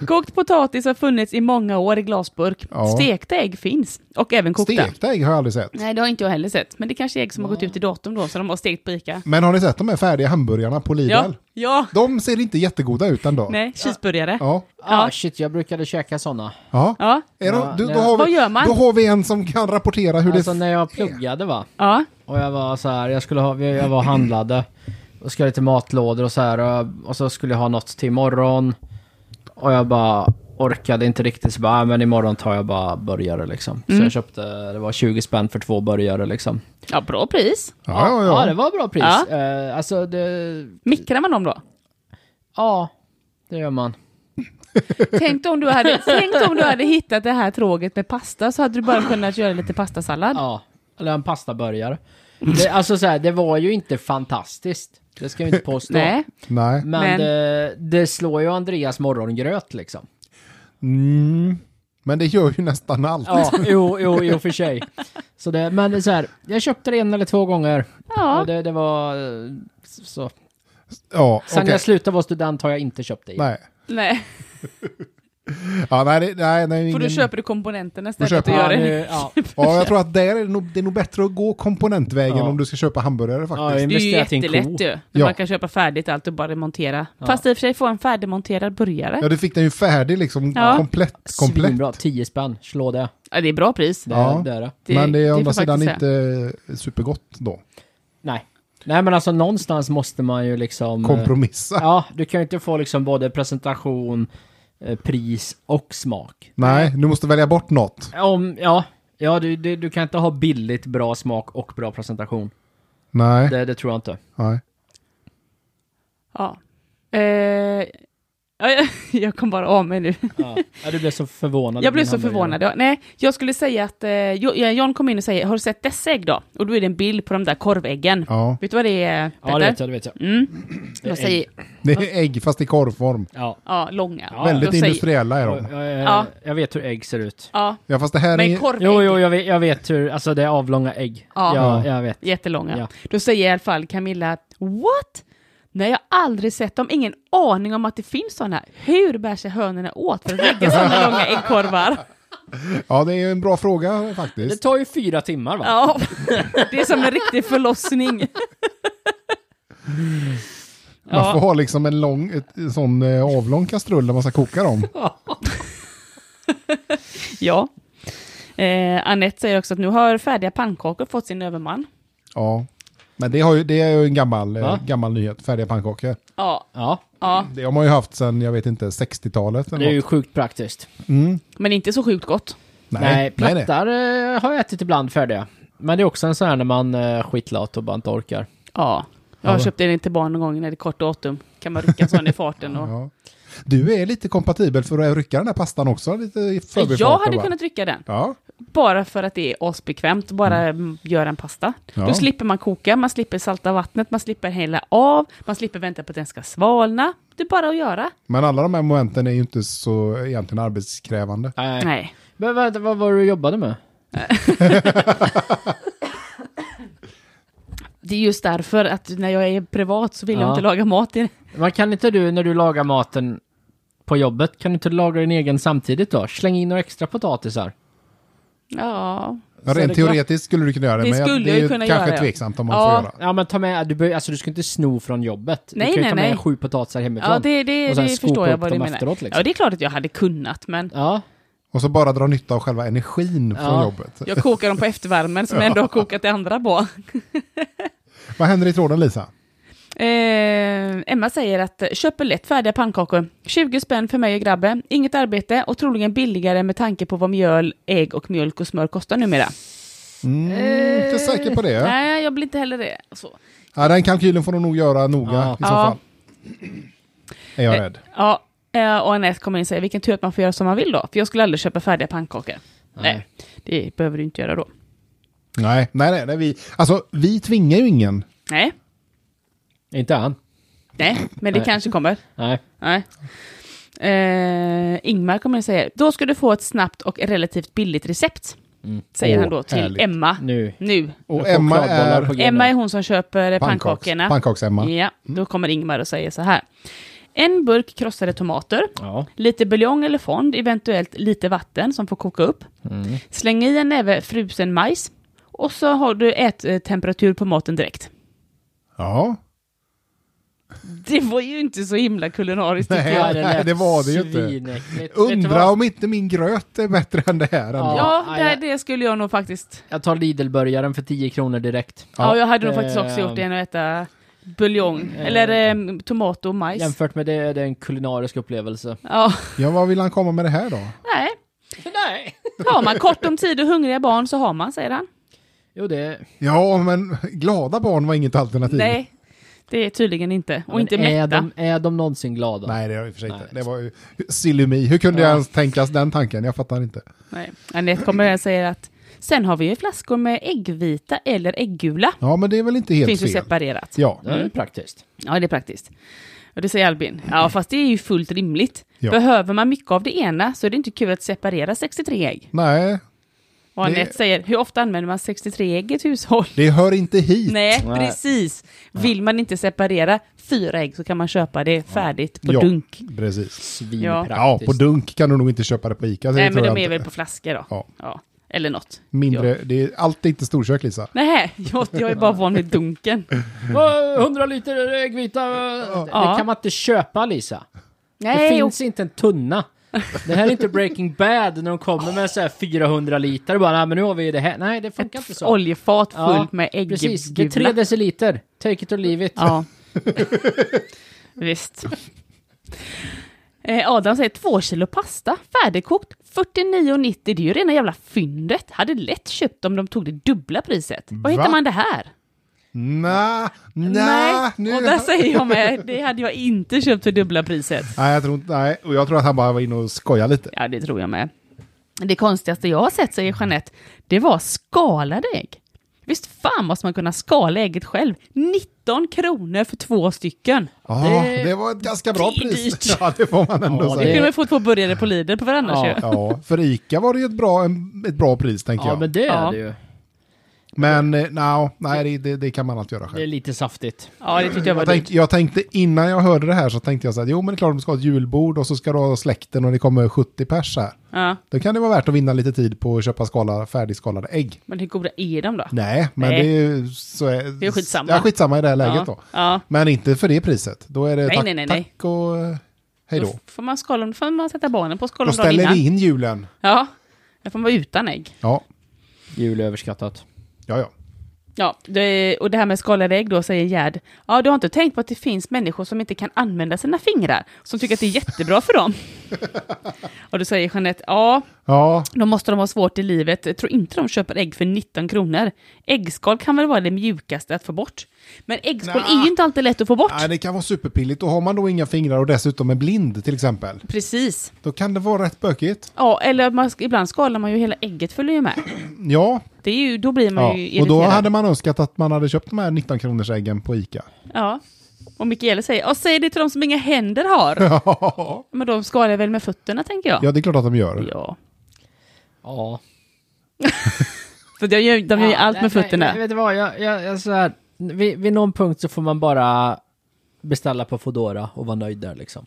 Kokt potatis har funnits i många år i glasburk.
Ja.
Stekta ägg finns. Och även kokta.
Stekta ägg har jag aldrig sett.
Nej, det har inte jag heller sett. Men det kanske är ägg som har gått ut i datum då, så de har stekt på Ica.
Men har ni sett de här färdiga hamburgarna på Lidl?
Ja, ja.
De ser inte jättegoda ut ändå.
Nej, cheeseburgare. Ja.
Ja.
Ah, shit, jag brukade käka sådana.
ja.
Ja.
Är
Ja,
de, du,
nej.
då, har vi,
Vad gör man?
då har vi en som kan rapportera hur
Alltså
det...
när jag pluggade va.
ja.
Och jag var så här, jag skulle ha, jag var och handlade. Och skulle till matlådor och så här. och- Och så skulle jag ha något till imorgon. Och jag bara orkade inte riktigt. Så bara, "Ah, men imorgon tar jag bara burgare liksom.
Mm.
Så jag köpte, det var 20 spänn för två burgare liksom.
bra pris.
Ja, ja,
ja
ja.
det var bra pris.
Ja.
Eh, alltså det,
Mikrar man dem då?
ja. Det gör man.
Tänk om, du hade, (laughs) tänk om du hade hittat det här tråget med pasta så hade du bara kunnat göra lite pastasallad.
Ja. Eller en pastaburgare. Det, alltså så här, det var ju inte fantastiskt. Det ska vi inte påstå.
(laughs) Nej,
Nej.
Men,
Men-
Det, det slår ju Andreas morgongröt liksom.
Mm. Men det gör ju nästan allt.
Ja, jo, jo, jo för sig. Så det, men det är så här, jag köpte det en eller två gånger.
Ja.
Och det, det var... eh, Så.
Ja,
Sen
okej.
jag slutade vara student har jag inte köpt det igen.
Nej.
nej.
Ja, nej, det, nej, nej
För
ingen...
då köper du komponenterna
köper
istället och
man eh,
gör
Ja,
det.
nu,
(laughs)
ja.
ja, jag tror att där är det, nog, det är nog bättre att gå komponentvägen
Ja.
om du ska köpa hamburgare
ja, jag
faktiskt.
Det är ju
investerade i en ko.
jättelätt ju. När
Ja.
man kan köpa färdigt allt och bara montera. Fast i och för sig få en färdigmonterad burgare.
Ja, du fick den ju färdig liksom,
Ja.
komplett. komplett.
Svinbra, 10 spänn. Slå det.
Ja, det är bra pris.
Det,
Ja.
det är det.
Det-
Men det är
det
å
får
andra sidan
faktiskt
inte supergott då.
Nej. Nej, men alltså någonstans måste man ju liksom... eh,
Kompromissa.
Ja, du kan ju inte få liksom både presentation, eh, pris och smak.
Nej, du måste välja bort något.
Om, ja, ja du, du, du kan inte ha billigt, bra smak och bra presentation.
Nej.
Det, det tror jag inte.
nej.
Ja. Eh, ja, (laughs) jag- jag kom bara av mig nu.
Ja, Ja, du blev så förvånad.
Jag blev
Min
så
hamburgare.
förvånad. Ja, nej, jag skulle säga att eh, Jo- John kom in och säger, har du sett dessa ägg då? Och då är det en bild på de där korväggen.
Ja.
Vet du vad det är,
Ja,
Petter?
det vet jag. Det vet jag. (clears throat)
Mm. De säger,
Det är ägg fast i korvform.
Ja.
ja, långa.
Ja,
Väldigt
de säger-
industriella är de.
Jag,
Ja.
jag vet hur ägg ser ut.
Ja,
Ja, fast det här
men
är...
korvägg.
Jo, jo, jag vet, jag vet hur, alltså det är avlånga ägg.
Ja.
Ja, jag vet.
Jättelånga.
Ja.
Då säger i alla fall Camilla, what? Nej, jag har aldrig sett dem. Ingen aning om att det finns sådana. Hur bär sig hönorna åt för att lägga sådana
(laughs)
långa äggkorvar?
Ja, det är en bra fråga
Det
faktiskt.
tar ju fyra timmar va?
Ja, det är som en riktig förlossning.
Man får
Ja,
ha liksom en lång, ett, en sån eh, avlång kastrull där man ska koka dem.
ja. Eh, Annette säger också att nu har färdiga pannkakor fått sin överman.
Ja. Men det, har ju, det är ju en gammal, eh,
Va?
gammal nyhet, färdiga pannkakor.
Ja,
Ja,
ja,
Det har man ju haft sedan, jag vet inte, 60-talet
det är
eller
ju
något.
sjukt praktiskt.
Mm.
men inte så sjukt gott.
Nej, plattar eh, har jag ätit ibland färdiga. Men det är också en sån här när man eh, skitlat och bara inte orkar.
Ja,
Ja.
jag köpte den till barn någon gång när det är kort datum. Kan man rycka en sån i farten.
(laughs)
Och...
Ja. Du är lite kompatibel för att rycka den här pastan också, lite i förbifarten,
Jag hade
va?
kunnat rycka den.
Ja,
Bara för att det är asbekvämt, bara mm. göra en pasta.
Ja.
Då slipper man koka, man slipper salta vattnet, man slipper hälla av, man slipper vänta på att den ska svalna. Det är bara att göra.
men alla de här momenten är ju inte så egentligen arbetskrävande.
Nej.
Nej.
Men vad, vad var det du jobbade med?
Det är just därför att när jag är privat så vill
Ja.
jag inte laga mat. I...
Man kan inte du, när du lagar maten på jobbet, kan du inte laga din egen samtidigt då? Släng in några extra potatisar.
Ja.
Ja,
Så det
rent
är
teoretiskt skulle du kunna göra det,
Det
men jag,
skulle
det är
jag
ju
kunna
kanske
göra, ja.
tveksamt om man
Ja.
får göra.
Ja men ta med, du, behöver- alltså du ska inte sno från jobbet.
Nej,
du kan ju
nej,
ta med
nej.
sju potatisar hemifrån.
Ja, det, det,
och sen
det
skopa
förstår jag
upp
vad du
dem
menar.
efteråt, liksom.
Ja, det är klart att jag hade kunnat, men
Ja,
Och så bara dra nytta av själva energin från
Ja.
jobbet.
jag kokar dem på eftervärmen som jag ändå har kokat det andra på.
Vad händer i tråden Lisa?
Eh, Emma säger att köper lätt färdiga pannkakor. 20 spänn för mig och grabben, inget arbete och troligen billigare med tanke på vad mjöl, ägg och mjölk och smör kostar numera.
Mm, inte säker på det.
Eh, Nej, jag blir inte heller det. Alltså. Så.
Ja, den kalkylen får de nog göra noga
Ja.
i så
Ja.
fall. Är jag rädd.
Ja, eh, och Anette kommer in och säger vilken tur att man får göra som man vill då. För jag skulle aldrig köpa färdiga pannkakor. Nej,
Nej.
det behöver du inte göra då.
Nej, nej, nej, nej vi, alltså, vi tvingar ju ingen.
Nej,
Inte han.
nej, men det
Nej.
kanske kommer.
Nej.
Nej. Eh, Ingmar kommer att säga, då ska du få ett snabbt och relativt billigt recept. Säger
Mm. Åh,
han då till
härligt.
Emma
Nu.
nu.
Och
Jag får
Emma
chokladbollar
är
på grejerna.
Emma är hon som köper eh,
pannkaks- Mm.
pannkakorna.
pannkaks-Emma.
Ja, då kommer Ingmar och säger så här. En burk krossade tomater,
Ja.
lite buljong eller fond, eventuellt lite vatten som får koka upp.
Mm.
Släng i en näve frusen majs och så har du ättemperatur på maten direkt.
Ja,
Det var ju inte så himla kulinariskt tycker
Nej.
jag.
Ja,
nej, (laughs)
lät
det var det ju inte.
svinäckligt. Vet du
undra
vad?
om inte min gröt är bättre än det här. ändå.
Ja.
Ja,
nej,
det,
jag-
det skulle jag nog faktiskt.
Jag tar Lidl-burgaren för 10 kronor direkt.
Ja, jag hade nog faktiskt också
Ehm.
gjort det än att äta buljong, eller eh, tomat och majs.
Jämfört med det, det är en kulinarisk upplevelse.
Ja,
ja, vad vill han komma med det här då?
nej.
Nej.
Har man kort om tid och hungriga barn så har man, säger han.
Jo, det...
Ja, men glada barn var inget alternativ.
Nej, det är tydligen inte. Och
Men
inte
är
mätta.
de, är de någonsin glada?
Nej, det var i och för sig inte.
Nej.
Det var ju silly me. Hur kunde
Ja.
jag ens tänkas den tanken? Jag fattar inte.
Nej. Anette kommer och säger att sen har vi ju flaskor med äggvita eller ägggula.
Ja, men det är väl inte helt
Finns ju
fel.
separerat.
Ja,
Det är ju praktiskt.
Ja, det är praktiskt. Och det säger Albin. Ja, fast det är ju fullt rimligt.
Ja.
Behöver man mycket av det ena så är det inte kul att separera 63 ägg.
nej,
Och Anette
Det-
säger, hur ofta använder man 63 ägg i ett hushåll?
det hör inte hit.
Nej,
Nej.
precis. Vill man inte separera fyra ägg så kan man köpa det färdigt på
ja,
dunk.
Precis.
Svinpraktiskt.
Ja, på dunk kan du nog inte köpa det på Ica. det
Nej, men
tror
de
jag
är
inte.
väl på flaska då.
Ja.
Eller något.
Mindre,
Ja.
det är, allt är inte storkök Lisa.
Nej, jag, jag är bara van vid dunken.
Vad, 100 liter äggvita. Det
Ja.
kan man inte köpa Lisa. Det
Nej,
finns inte en tunna. Det här är inte Breaking Bad när de kommer med så här 400 liter och bara nej men nu har vi det här. Nej det funkar inte
ett
så.
oljefat
Ja,
fullt med ägg.
Precis, det är 3 deciliter. Take it or leave it.
Ja. Visst. Eh, Adam säger två kilo pasta, färdigkokt, 49,90. Det är ju rena jävla fyndet. Hade lätt köpt om de tog det dubbla priset. Var hittar
Va?
man det här?
Nej, nej, nu...
och där säger jag med, det hade jag inte köpt för dubbla priset.
Nej, jag tror inte, nej, och jag tror att han bara var inne och skojade lite.
Ja, det tror jag med. Det konstigaste jag har sett, säger Jeanette, det var skalade ägg. Visst fan måste man kunna skala ägget själv? 19 kronor för två stycken.
Ja,
Det-
det, var ett ganska bra
det är
pris. (laughs)
dyrt.
Ja, det får man ändå
Ja, Eh.
Det
säga.
kunde man ju få två burgare på Lidl på varandra
Ja.
ju.
Ja, för Ica var det ju ett bra, en, ett bra pris, tänker
Ja
jag.
men det
Ja.
är det ju.
Men eh, no, nej, det, det, det kan man alltid göra
Det är
själv.
lite saftigt.
Ja, det tyckte jag var
Jag
dyrt.
tänkte, jag tänkte innan jag hörde det här så tänkte jag så här, jo men det är klart de ska ha ett julbord och så ska du ha släkten och det kommer 70 pers här.
Ja.
Då kan det vara värt att vinna lite tid på att köpa skala, färdigskalade ägg.
Men hur goda är de då?
Nej, men
Nej.
det är ju så är,
Det är skitsamma.
Ja, skitsamma i det här läget
ja.
då.
Ja.
Men inte för det priset. Då är det
Nej,
tack,
nej, nej, nej.
tack och eh, hej då.
Då får man skala, då får man sätta barnen på
Då
skalan dagen
ställer
innan.
vi in julen.
Ja, då får man vara utan ägg.
Ja,
Jul är överskattat.
ja, ja.
Ja, det, och det här med skalade ägg då, säger Gerd. Ja, du har inte tänkt på att det finns människor som inte kan använda sina fingrar, som tycker att det är jättebra
(laughs)
för dem. och då säger Jeanette, ja,
Ja,
då måste de ha svårt i livet. Jag tror inte de köper ägg för 19 kronor. Äggskal kan väl vara det mjukaste att få bort. Men äggskal
Nja.
är ju inte alltid lätt att få bort.
nej, det kan vara superpilligt. Och har man då inga fingrar och dessutom är blind till exempel,
Precis.
då kan det vara rätt bökigt.
Ja, eller man, ska- ibland skalar man ju hela ägget följer ju med.
Ja,
Det är ju, då blir man ju
ja.
irriterad.
och då hade man önskat att man hade köpt de här 19 kronors äggen på Ica.
Ja. Och Mikaela säger, och säg det till de som inga händer har.
ja,
Men de skalar väl med fötterna tänker jag.
det är klart att de gör.
Ja.
Ja.
För de gör, de gör ju allt med fötterna.
Nej, vet du vad, jag, jag, jag så här, vid, vid någon punkt så får man bara beställa på Foodora och vara nöjd där
(laughs)
liksom.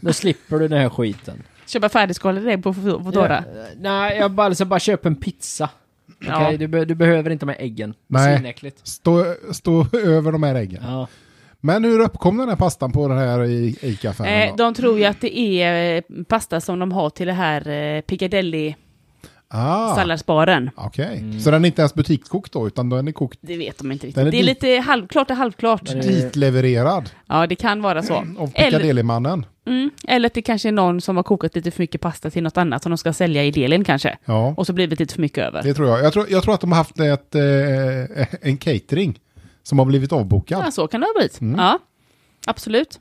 Då slipper du den här skiten.
Köpa färdigskalade ägg på Fo- Foodora.
Ja, eh, nej, jag bara, alltså, bara köp en pizza. Okej,
Ja.
du, be, du behöver inte de här äggen.
Nej.
Svinäckligt.
Stå, stå (laughs) över de här äggen.
Ja.
Men hur uppkom den här pastan på den här i- Ica-affären?
Eh,
då?
de tror ju att det är eh, pasta som de har till det här eh, piccadilly.
Ah,
Salladsbaren.
okej.
Mm.
Så den är inte ens butikskokt då, utan den är kokt
Det vet de inte riktigt.
Den är
det är
dit-
lite halvklart och halvklart.
Den är-
ditlevererad
Ja, det kan vara så.
av
Eller,
Piccadillymannen.
mm, eller att det kanske är någon som har kokat lite för mycket pasta till något annat som de ska sälja i delen kanske.
Ja,
Och så blir det lite för mycket över.
det tror jag. Jag tror, jag tror att de har haft ett, eh, en catering som har blivit avbokad.
Ja, så kan det ha blivit. Ja, absolut.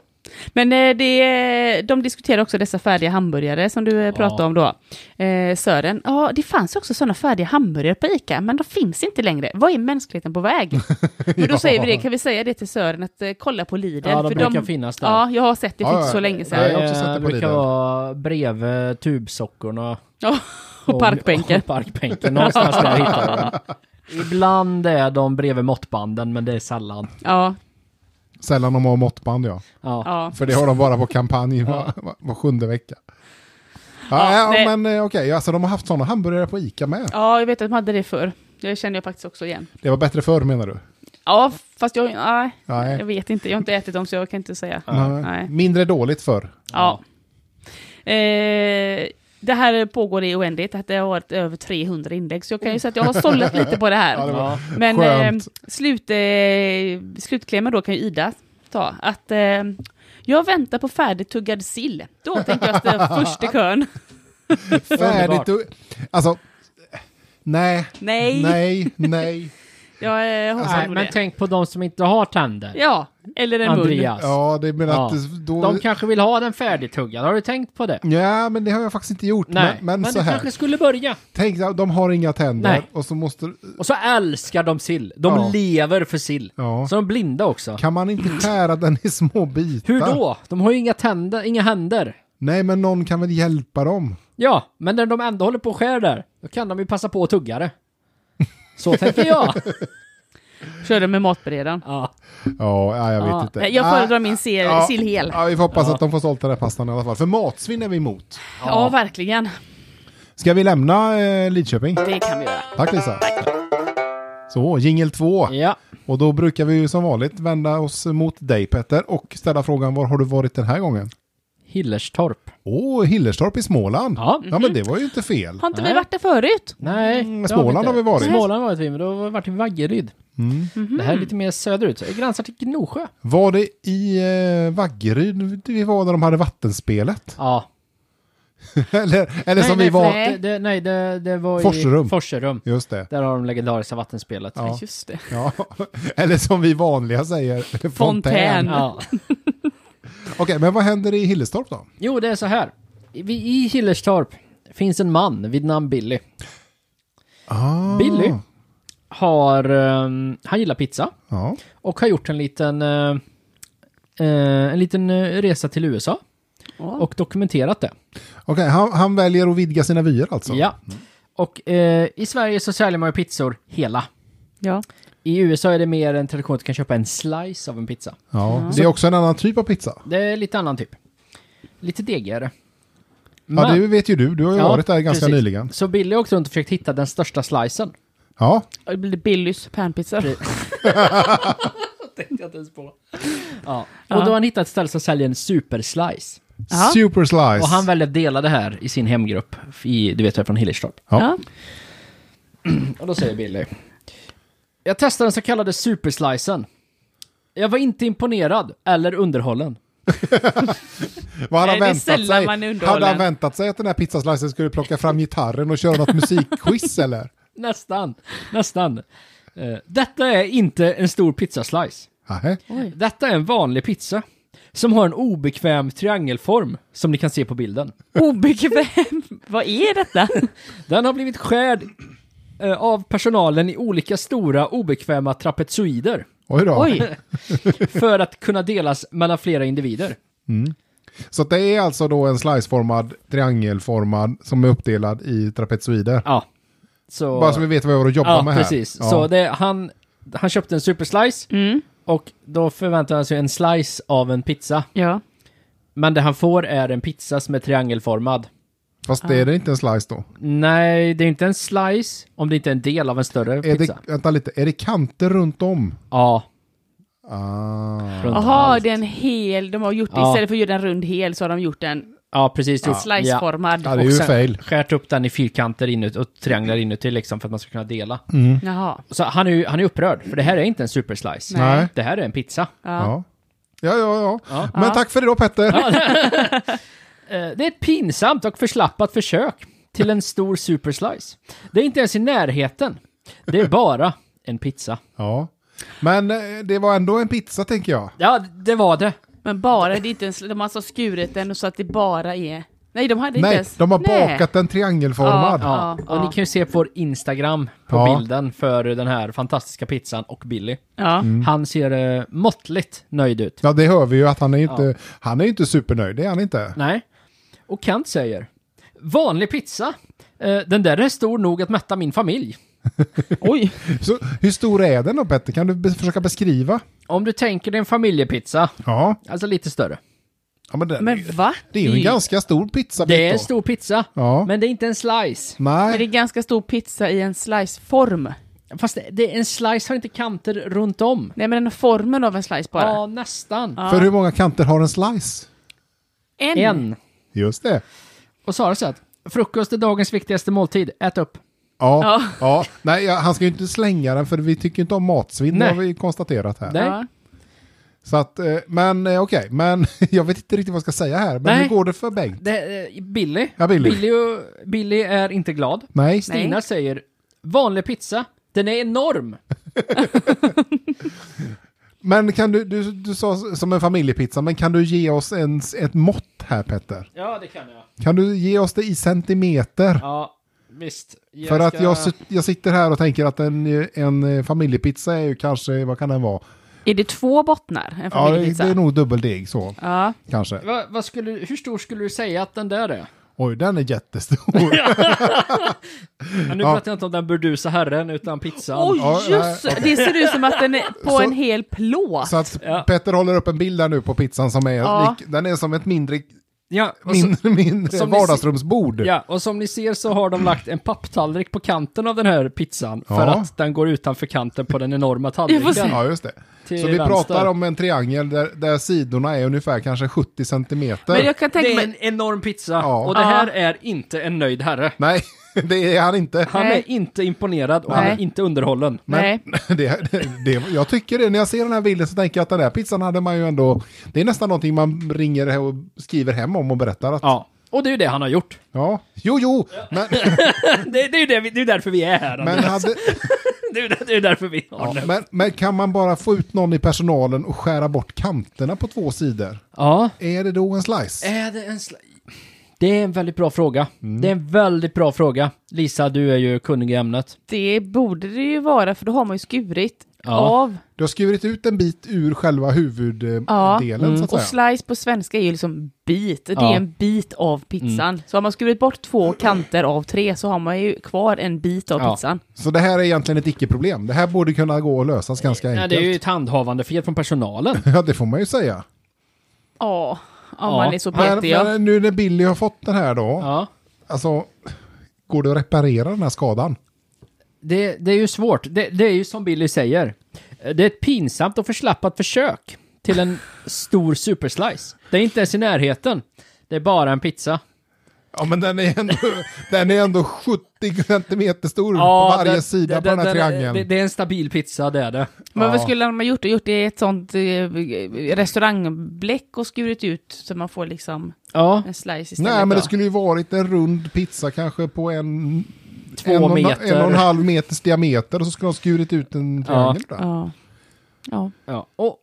Men eh, det, de diskuterar också dessa färdiga hamburgare som du eh, pratade om då. Eh, Sören, ja det fanns ju också sådana färdiga hamburgare på ICA, men de finns inte längre. Vad är mänskligheten på väg? Men då
Ja.
säger vi det, kan vi säga det till Sören att eh, kolla på Lidl?
Ja, de brukar finnas där.
Ja, jag har sett det för
Ja,
inte
ja.
så länge
Ja,
sedan.
jag har också sett det på
Eh, brukar
Lidl.
vara bredvid tubsockorna.
(laughs) Ja, och
(laughs)
parkbänken.
Och parkbänken. Någonstans där hittar jag dem. Ibland är de bredvid måttbanden, men det är sällan.
Ja,
Sällan de har måttband ja.
Ja.
ja.
För det har de bara på kampanj var, var- var sjunde vecka.
Ja,
Ja, ja,
nej.
men eh, okej, alltså de har haft sådana hamburgare på Ica med.
ja, jag vet att de hade det förr. Det känner jag faktiskt också igen.
Det var bättre förr menar du?
Ja, fast jag, nej,
Nej.
jag vet inte. Jag har inte ätit dem så jag kan inte säga.
Nej.
Nej.
Mindre dåligt förr.
Ja. Eh, det här pågår i oändligt, att det har varit över 300 inlägg, så jag kan ju säga att jag har sållat lite på det
(laughs)
här.
Ja, det var
Ja.
Men eh,
skönt.
slut, eh, slutklämmen då kan ju Ida ta, att eh, jag väntar på färdigtuggad sill. Då tänker jag
(laughs)
stå först i kön.
Färdigt och, Alltså, nej,
Nej,
nej,
(laughs)
nej.
jag eh, hoppas
Nej,
på
men
det.
tänk på de som inte har tänder.
Ja, eller en mun.
Andreas.
Ja, det menar att
Ja.
då...
De kanske vill ha den färdigtuggad. Har du tänkt på det?
Ja, men det har jag faktiskt inte gjort.
Nej,
men, men, så
du
här.
kanske skulle börja.
Tänk, de har inga tänder
Nej.
och så måste...
Och så älskar de sill. De
Ja.
lever för sill.
Ja.
Så de är blinda också.
Kan man inte skära den i små bitar?
Hur då? De har ju inga tänder, inga händer.
Nej, men någon kan väl hjälpa dem?
Ja, men när de ändå håller på och skär där, då kan de ju passa på att tugga det. Så
(laughs)
tänker jag.
Körde med matberedaren.
Ja.
Ja, ja, jag vet
Ja,
inte. Ah.
Jag föredrar min sill,
Ja,
sill hel. Ja,
Ja, vi får hoppas att de får sålt den här pastan i alla fall. För matsvinn är vi emot.
verkligen.
Ska vi lämna eh, Lidköping?
Det kan vi göra.
Tack Lisa. Så, jingel två.
ja.
Och då brukar vi ju som vanligt vända oss mot dig Petter och ställa frågan var har du varit den här gången?
Hillerstorp.
Åh, Hillerstorp i Småland.
Ja.
men det var ju inte fel.
Har inte vi
Nej.
varit där förut?
Nej.
Mm,
det
Småland
inte.
har vi varit. Mm.
Småland har vi, men då har vi varit i Vaggeryd. Mm-hmm. Det här är lite mer söderut. Det gränsar till Gnosjö.
Var det i eh, Vaggeryd vi var där de hade vattenspelet? (laughs)
Ja.
eller eller som vi
nej,
var...
förlåt. Det, det, nej det, det var
Forserum.
i Forserum.
Just det.
Där har de legendariska vattenspelet.
Ja.
Just det.
Ja. (laughs) eller som vi vanliga säger, fontän.
Fontän.
Ja.
Okej, men vad händer i Hillerstorp då?
Jo, det är så här. Vi, I Hillerstorp finns en man vid namn Billy.
Ah,
Billy har... ehm, han gillar pizza.
Ja.
Och har gjort en liten... eh, eh, en liten eh, resa till USA.
Ah.
Och dokumenterat det.
Okej, han, han väljer att vidga sina vyer alltså?
Ja. Och eh, i Sverige så säljer man ju pizzor hela.
Ja.
I USA är det mer en tradition att du kan köpa en slice av en pizza.
Ja,
Mm.
Det är också en annan typ av pizza.
Det är lite annan typ. Lite degigare.
Ja,
Men-
det vet ju du. Du har ju
Ja,
varit där ganska
precis.
nyligen.
Så Billy har också runt och försökt hitta den största slicen.
Ja,
Och Det blir Billys panpizza.
tänkte jag inte ens på. Ja. Och
Ja.
då har han hittat ett ställe som säljer en superslice.
Ja.
super slice.
Och han väljer att dela det här i sin hemgrupp. I, du vet, jag är från Hillerstorp.
ja.
Ja.
Och då säger Billy. Jag testade den så kallade superslicen. Jag var inte imponerad eller underhållen.
Vad hade han
Nej, det är
väntat
sällan
sig?
man är underhållen.
Hade han väntat sig att den här pizzaslicen skulle plocka fram gitarren och köra något
(laughs)
musikquiz eller?
Nästan, nästan. Eh, Detta är inte en stor pizzaslice.
Nej.
Detta är en vanlig pizza. Som har en obekväm triangelform, som ni kan se på bilden.
Obekväm. Vad är detta?
Den har blivit skärd eh, av personalen i olika stora obekväma trapezoider.
Oj då.
Oj.
För att kunna delas mellan flera individer.
Så att det är alltså då en sliceformad, triangelformad som är uppdelad i trapezoider.
Ja. Så...
Bara så vi vet vad vi har att jobba
ja,
med här.
precis.
Ja,
Så det, han, han köpte en superslice. Och då förväntar han sig en slice av en pizza.
Ja.
Men det han får är en pizza som är triangelformad.
Fast det är det inte en slice då?
Nej, det är inte en slice om det inte är en del av en större
Är
pizza.
det, vänta lite, är det kanter runt om?
Ja.
Ah.
runt
Jaha,
allt.
det är en hel. De har gjort det.
Ja.
Istället för att göra en rund hel så har de gjort en
Ja, precis. gjort- ja.
Sliceformad.
Ja, det är ju
Och sen
fail.
Skärt upp den i fyrkanter inuti och trianglar inuti liksom för att man ska kunna dela.
Mm.
Jaha.
Så han är ju han är upprörd, för det här är inte en superslice.
Nej.
Nej.
Det här är en pizza.
Ja. Ja, ja, ja.
Ja.
Men tack för idag Petter.
Eh, Det är ett pinsamt och förslappat försök till en stor superslice. Det är inte ens i närheten. Det är bara en pizza.
Ja. Men eh, det var ändå en pizza tänker jag.
Ja, det var det.
Men bara, det är inte ens, de har alltså skurit den och så att det bara är... Nej, de hade inte
Nej,
ens...
de har
Nej.
bakat den triangelformad. Ja,
Ja.
Ja,
Och
ja.
ni kan ju se på vår Instagram på
Ja.
bilden för den här fantastiska pizzan och Billy.
Ja.
Mm.
Han ser eh, måttligt nöjd ut.
det hör vi ju att han är inte, han är ju inte supernöjd, det är han inte.
Nej. Och Kant säger Vanlig pizza. Eh, den där är stor nog att mätta min (laughs) familj.
Oj.
Så hur stor är den då Petter? Kan du be- försöka beskriva?
Om du tänker dig en familjepizza,
Ja,
alltså lite större.
ja men, den,
Men va?
det är ju en ganska stor pizza.
Det är en stor pizza,
Ja.
men det är inte en slice.
Men det är
Nej,
ganska stor pizza i en sliceform.
Fast det, det, en slice har inte kanter runt om.
Nej, men den formen av en slice bara.
Ja, nästan.
för hur många kanter har en slice?
En.
En.
Just det.
Och Sara sa att frukost är dagens viktigaste måltid. Ät upp.
Ja, ja.
Ja.
nej, ja, han ska ju inte slänga den för vi tycker ju inte om matsvinn, det
Nej.
har vi ju konstaterat här.
Nej.
Ja.
Så att, eh, men eh, okej, men (laughs) jag vet inte riktigt vad jag ska säga här, men
Nej.
hur går det för Bengt?
Det, eh, Billy.
Ja, Billy.
Billy, och, Billy är inte glad.
Nej,
Stina
Nej.
säger vanlig pizza. Den är enorm.
men kan du, du, du sa som en familjepizza, men kan du ge oss en, ett mått här Petter?
Ja, det kan jag.
Kan du ge oss det i centimeter?
Ja, visst. Jag
För att
ska-
jag, sit- jag sitter här och tänker att en, eh, en eh, familjepizza är ju kanske, vad kan den vara?
Är det två bottnar? En
Ja, det
familjepizza?
är nog dubbeldeg så,
Ja.
kanske.
Va, vad skulle, hur stor skulle du säga att den där är?
Oj, den
(laughs)
är jättestor. (laughs)
Ja, nu
Ja.
pratar jag inte om den burdusa herren, utan pizzan.
Oj,
Ja,
just
nej,
Det ser ut som att den är på
Så-
en hel plåt.
Så att
Ja.
Petter håller upp en bild där nu på pizzan som är,
Ja.
lik, den är som ett mindre,
Ja, och så,
mindre, mindre
som ni
vardagsrumsbord.
ja, och som ni ser så har de lagt en papptallrik på kanten av den här pizzan. För
Ja.
att den går utanför kanten på den enorma
(laughs) Jag får
tallriken.
se.
Ja, just det.
Till
Så vi
vänster.
pratar om en triangel där, där sidorna är ungefär kanske 70 centimeter.
Men jag kan
Det
tänka
är
mig...
en enorm pizza.
Ja.
Och det
Ja.
här är inte en nöjd herre.
Nej, (laughs) det är han inte.
Han
Nej.
är inte imponerad och han
Nej.
är inte underhållen.
Men
Nej.
(laughs) Det, det, jag tycker det, när jag ser den här bilden så tänker jag att den där pizzan hade man ju ändå... Det är nästan någonting man ringer och skriver hem om och berättar att... Ja.
Ja. Och det är ju det han har gjort.
Jo, jo, men,
Mm.
Det, det är ju det, vi- det är ju därför vi är (laughs) här.
men,
Anders.
hade,
Det är ju- det är ju därför vi har
ja,
det.
men, men kan man bara få ut någon i personalen och skära bort kanterna på två sidor?
Ja.
Är det då en slice?
Är det en sli- Det är en väldigt bra fråga.
Mm.
Det är en väldigt bra fråga. Lisa, du är ju kunnig i ämnet.
Det borde det ju vara, för då har man ju skurit
Ja.
av.
Du har skurit ut en bit ur själva
Ja. mm,
huvuddelen eh, så
Och
att säga.
slice på svenska är ju liksom bit. Det
Ja.
är en bit av pizzan.
Mm.
Så har man skurit bort två kanter av tre så har man ju kvar en bit av
Ja.
pizzan.
Så det här är egentligen ett icke-problem. Det här borde kunna gå att lösas ganska
Ja,
enkelt.
det är ju ett handhavande fel från personalen.
Ja, det får man ju säga.
Ja, om
Ja.
man är så
Men,
petig. ja.
men nu när Billy har fått den här då,
Ja.
alltså, går det att reparera den här skadan?
Det, det är ju svårt. Det, det är ju som Billy säger. Det är ett pinsamt och förslappat försök till en stor superslice. Det är inte ens i närheten. Det är bara en pizza.
Ja, men den är ändå, (laughs) den är ändå 70 centimeter stor på varje
det-
sida
det-
på den här
det- det-
triangeln.
Det, det är en stabil pizza, det är det.
Men vad
Ja.
skulle de ha gjort? Gjort det i ett sånt eh, restaurangbläck och skurit ut så man får liksom
Ja,
en slice istället.
Nej, men det
då.
skulle ju varit en rund pizza kanske på en...
Två
en och,
meter.
En och en halv meters diameter och så skulle de skurit ut en triangel. där.
Ja. ja.
ja. Och,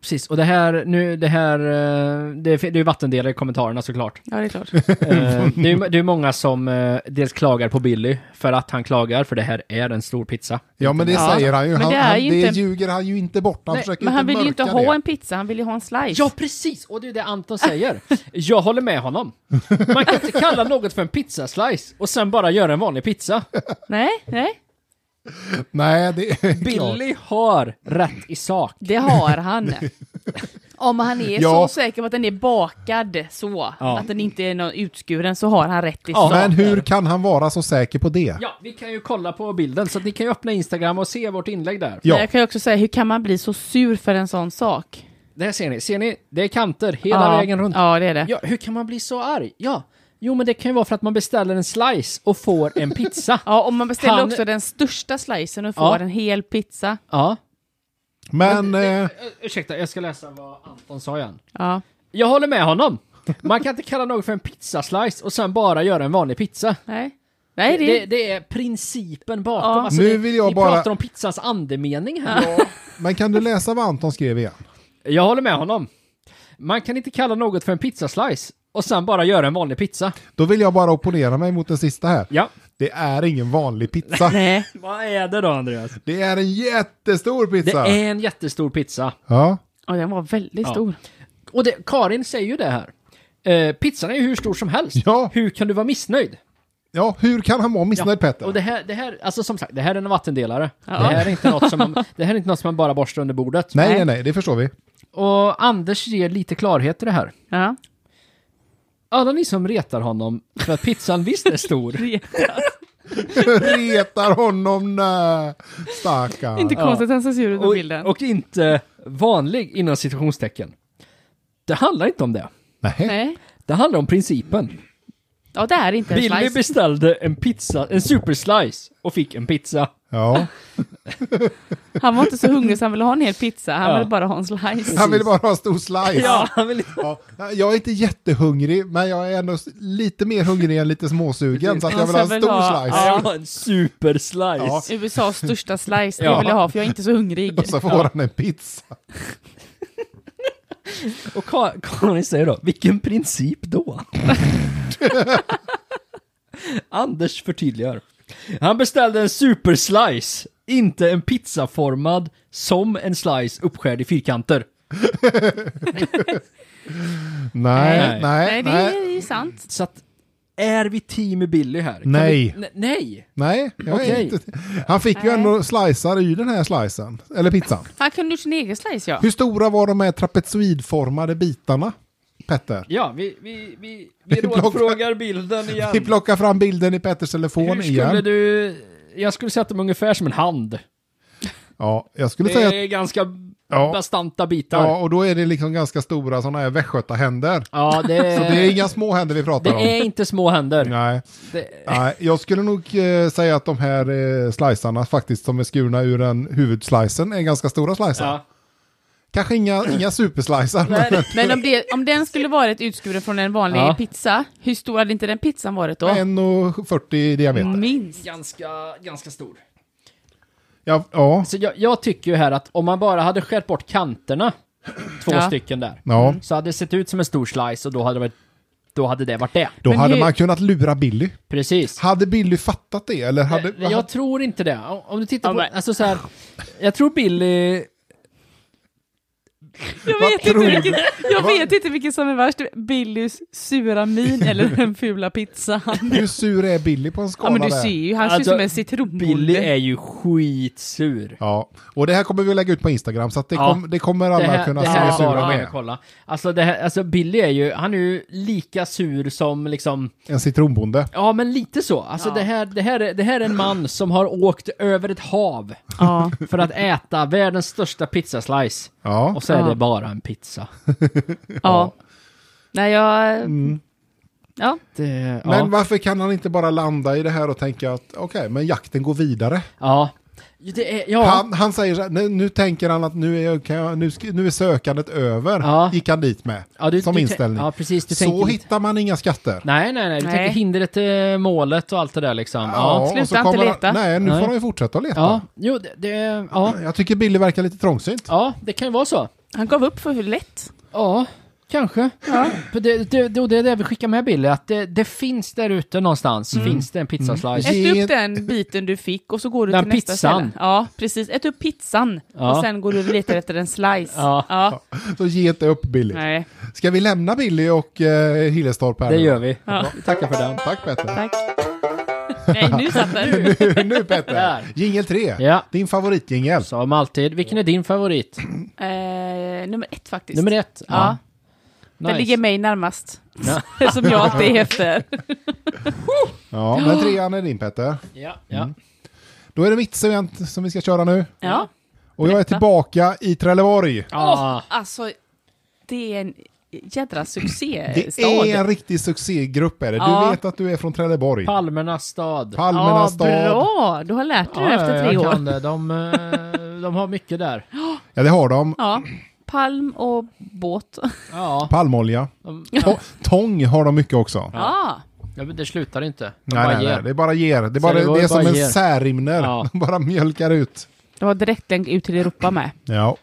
precis. Och det här, nu, det här, eh, det är, det är ju vattendelare i kommentarerna såklart.
Ja, det är klart.
Eh, det, är, det är många som eh, dels klagar på Billy för att han klagar, för det här är en stor pizza.
Ja, men det
Ja.
säger han ju.
Men
Han,
det
det,
är
han,
ju
det
inte-
ljuger han ju inte bort. Han
Nej,
försöker
Men han vill ju inte
mörka
ha
det.
en pizza, han vill ju ha en slice.
Ja, precis! Och det är det Anton säger. (laughs) Jag håller med honom. Man kan inte kalla något för en pizzaslice och sen bara göra en vanlig pizza.
Nej, nej.
Nej, det är klart.
Billy har rätt i sak.
Det har
(laughs)
han. Om han är
Ja.
så säker på att den är bakad så,
Ja.
att den inte är någon utskuren, så har han rätt i
Ja.
sak.
Men hur kan han vara så säker på det?
Ja, vi kan ju kolla på bilden, så att ni kan ju öppna Instagram och se vårt inlägg där.
Ja.
Men jag kan ju också säga, hur kan man bli så sur för en sån sak?
Det här ser ni. Ser ni? Det är kanter hela
ja.
vägen runt.
Ja, det är det.
Ja, hur kan man bli så arg? Ja, jo men det kan ju vara för att man beställer en slice och får en (laughs) pizza.
Ja, och man beställer
Han-
också den största slicen och får
Ja.
en hel pizza.
Ja.
Men... eh,
Ur- Ursäkta, jag ska läsa vad Anton sa igen.
Ja.
Jag håller med honom. Man kan inte kalla något för en pizzaslice och sen bara göra en vanlig pizza.
Nej. Nej, det,
Det, det är principen bakom.
Ja.
Alltså,
Nu
ni-
vill jag
ni
bara-
pratar om pizzans andemening här.
Men kan du läsa vad Anton skrev igen?
Jag håller med honom. Man kan inte kalla något för en pizzaslice och sen bara göra en vanlig pizza.
Då vill jag bara opponera mig mot den sista här.
Ja.
Det är ingen vanlig pizza.
Nej.
Vad är det då, Andreas?
Det är en jättestor
Det
pizza.
är en jättestor pizza.
Ja.
Och den var väldigt
Ja.
stor.
Och det, Karin säger ju det här. Eh, pizzan är ju hur stor som helst.
Ja.
Hur kan du vara missnöjd?
ja, hur kan han vara missnöjd Petter?
Och det här, det här, alltså som sagt, det här är en vattendelare.
Ja.
Det, här är inte något som
(laughs)
man, det här är inte något som man bara borstar under bordet.
Nej, nej, nej, det förstår vi. (laughs)
Och Anders ger lite klarhet i det här.
Ja.
Alla ni som retar honom för att pizzan (laughs) visst är stor.
Retar honom, nä. Stackarn.
Inte
Ja.
konstigt att han ser sur ut på bilden.
Och, och inte vanlig inom citationstecken. Det handlar inte om det.
Nej.
Nej.
Det handlar om principen.
Ja, det är inte en
Billy
slice.
beställde en pizza, en superslice och fick en pizza.
Ja.
Han var inte så hungrig så han ville ha en hel pizza. Han
Ja.
ville bara ha en slice.
Han vill bara ha en stor slice.
Ja, (laughs) han vill
Ja, jag är inte jättehungrig, men jag är ändå s- lite mer hungrig än lite småsugen, så att jag vill ha en
Jag vill
stor
ha-
slice.
Jag vill ha en superslice.
Ja.
USAs största slice, det
Ja.
vill jag ha för jag är inte så hungrig.
Och så får han en pizza.
Och Ka- Karin säger då, vilken princip då? Anders förtydligar. Han beställde en superslice, inte en pizzaformad som en slice uppskärd i fyrkanter.
Nej, nej,
Nej.
Nej,
nej.
det
Nej,
är ju sant.
Så att, är vi team Billy här? Kan
Nej.
Vi, ne- nej!
jag är
Okej.
inte. Han fick ju
Nej.
ändå slicear i den här slicen, eller pizzan.
Han kunde gjort sin egen
(laughs)
slice ja.
Hur stora var de här trapezoidformade bitarna, Petter?
Ja, vi, vi, vi, vi
Vi plockar-
rådfrågar bilden igen.
Vi plockar fram bilden i Petters telefon
Hur skulle
igen.
du... Jag skulle säga att de är ungefär som en hand.
Ja, jag skulle
Det
säga att...
är ganska
Ja.
bastanta bitar.
Ja, och då är det liksom ganska stora sådana här västgötahänder.
Ja, det är,
Så det är inga små händer vi
Eh. det
pratar om.
är inte små händer.
Nej.
Det,
Nej, jag skulle nog eh, säga att de här eh, slicearna faktiskt som är skurna ur den huvudslicen är ganska stora slicear.
ja.
Kanske inga, inga superslicear. men-
Men om, det, om den skulle varit utskuren från en vanlig
Ja.
pizza, hur stor hade inte den pizzan varit då?
1,40 i diameter.
Mm.
Minst.
Ganska, ganska stor.
Ja, ja.
Så Alltså, jag, jag tycker ju här att om man bara hade skärt bort kanterna, två
Ja.
stycken där,
ja.
så hade det sett ut som en stor slice och då hade det varit, då hade det varit det.
Då
Men
hade
hur-
man kunnat lura Billy.
Precis.
Hade Billy fattat det? Eller hade,
Eh, jag tror inte det. Om om du tittar
Ja,
på,
men-
alltså så här, jag tror Billy,
Jag
(laughs) Vad
vet,
tror
inte
du?
vilken, jag
Vad-
vet inte vilken som är värst, Billys sura min eller den
(laughs)
fula pizzan.
Hur sur är Billy på en skala
Ja men du
där?
ser ju, han ser ut
Alltså,
som en citronbolle.
Billy är ju skitsur.
Ja, och det här kommer vi lägga ut på Instagram så att det,
Ja.
kom, det kommer alla
Det här,
kunna
det
se
här
hur sura
bara
de
man
är.
kan kolla. Alltså, det här, alltså Billy är ju, han är ju lika sur som liksom,
En citronbonde.
Ja, men lite så. Alltså
Ja.
det, här, det, här är, det här är en man som har åkt över ett hav
Ja.
(laughs) för att äta världens största pizzaslice.
Ja.
Och så är
Ja.
det bara en pizza.
ja. Nej jag...
Mm.
Ja.
Det, ja.
Men varför kan han inte bara landa i det här och tänka att okej, men jakten går vidare?
ja. Det är, ja.
Han, han säger så här, nu, nu tänker han att nu är, jag- kan jag, nu, sk- nu är sökandet över,
Ja.
gick han dit med.
ja, du,
som
du, tän-
inställning.
Ja, precis. Du
så
tänker lite-
hittar man inga skatter.
Nej, nej, nej. Du
Nej.
tänker hindret till målet och allt det där liksom. Ja.
och så
sluta
kommer
inte leta.
Han, nej, nu
Nej.
får han ju fortsätta att leta.
Ja, jo, det... det ja.
Jag tycker Billy verkar lite trångsynt.
ja, det kan ju vara så.
Han gav upp för lätt.
Ja, kanske. För Det, det, det, och det är det vi skickar med Billy, att det, det finns där ute någonstans,
Mm.
finns det en pizzaslice.
Mm.
Ät
Ge-
upp den biten du fick och så går du
Den
till nästa
pizzan.
ställe. Ja, precis. Ät upp pizzan
Ja.
och sen går du och letar efter en slice.
Ja.
Så ge inte upp Billy.
Nej,
Ska vi lämna Billy och eh, Hillestorp här?
Det
nu?
gör vi.
Ja.
Vi tackar för den.
Tack Petter. (laughs)
tack. Nej, nu
(laughs)
satt den.
nu Petter.
Där.
Jingel 3.
Ja.
Din favoritjingel.
Som alltid. Vilken är din favorit?
Eh, nummer ett faktiskt.
Nummer ett?
Ja.
Nice.
Den ligger mig närmast.
Ja.
(laughs) Som jag alltid efter.
Ja, men trean är din Petter.
Ja, ja.
Då är det mitt segment som vi ska köra nu.
Ja.
Och jag är tillbaka i Trelleborg.
Ja.
Alltså, det är en jädra succé.
Det
stad.
är en riktig succégrupp är det. Du
Ja.
vet att du är från Trelleborg.
Palmernas stad.
Palmernas
ja,
stad.
Bra! Du har lärt dig det efter tre
jag
år.
kan det. De, eh, de har mycket där.
Ja, det har de.
Ja. Palm och båt.
Ja,
Palmolja.
de,
To- tång har de mycket också.
Ja.
ja, men det slutar inte. De
Nej,
bara
nej,
ger.
nej, det är bara ger. Det är, bara,
Trelleborg
det är som
bara
en
ger.
särrimner.
Ja.
De (laughs) bara mjölkar ut.
Det var direktlänk ut till Europa med.
Ja,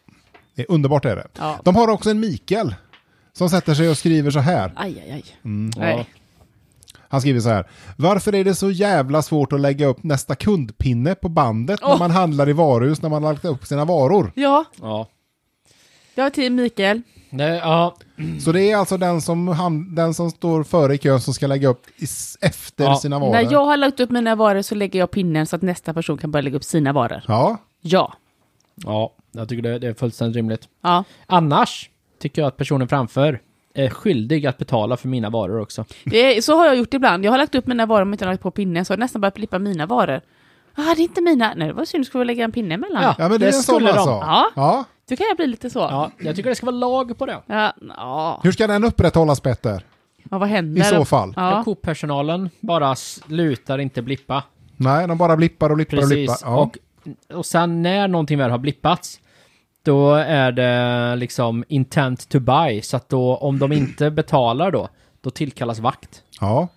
det är underbart är det.
Ja.
De har också en Mikael som sätter sig och skriver så här.
Aj, aj, aj.
Mm, Ja.
Nej.
Han skriver så här. Varför är det så jävla svårt att lägga upp nästa kundpinne på bandet när
Åh.
man handlar i varuhus när man har lagt upp sina varor?
Ja,
Ja.
jag har tid Mikael.
Nej, ja.
Så det är alltså den som, han, den som står före i kön som ska lägga upp i, s- efter
Ja.
sina varor.
När jag har lagt upp mina varor så lägger jag pinnen så att nästa person kan börja lägga upp sina varor.
Ja,
Ja.
ja, jag tycker det, det är fullständigt rimligt.
Ja.
Annars tycker jag att personen framför är skyldig att betala för mina varor också.
Det är, så har jag gjort ibland. Jag har lagt upp mina varor men inte lagt på pinnen så har jag nästan börjat flippa mina varor. Ah, det är inte mina. Nej, det var synd. Skulle vi lägga en pinne emellan?
Ja.
ja men det, är
Det
en sån
skulle de.
alltså.
Ja.
Ja.
Då kan jag bli lite så. Ja.
Ja, jag tycker det ska vara lag på det.
Ja,
Hur ska den upprätthållas Petter?
Ja, vad händer?
I så fall.
Ja.
Ja.
Coop-personalen bara slutar inte blippa.
Nej, de bara blippar och blippar och blippar.
Precis.
Ja.
Och, och sen när någonting väl har blippats, då är det liksom intent to buy. Så att då, om de
(clears throat)
inte betalar då, då tillkallas vakt.
ja.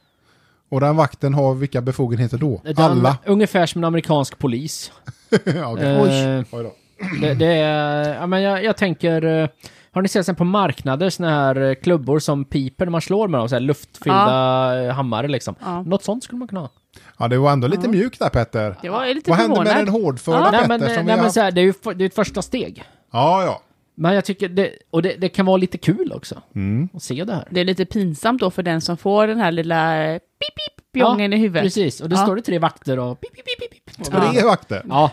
Och den vakten har vilka befogenheter då?
Den, (laughs)
Alla.
Ungefär som en amerikansk polis.
ja, okej.
Eh.
Oj. Oj då.
Det, det är, ja, men jag, jag tänker, eh, har ni sett sen på marknader såna här eh, klubbor som piper när man slår med dem? Så här luftfyllda eh, hammare liksom.
Ja.
Något sånt skulle man kunna ha.
Ja, det var ändå lite mjukt där Petter.
Det var jag är lite
Vad hände med
förvånad.
den hårdföra
Ja.
Petter
nej men,
som vi
nej,
har
men
haft?
så här, det är ju för, det är ett första steg.
Ja, ja.
Men jag tycker det, och det, det kan vara lite kul också.
Mm.
Att se det här.
Det är lite pinsamt då för den som får den här lilla eh, pip pip pjongen i huvudet.
Precis, och det
Ja.
står det tre vakter och pip, pip, pip, pip, pip.
Tre vakter.
Ja,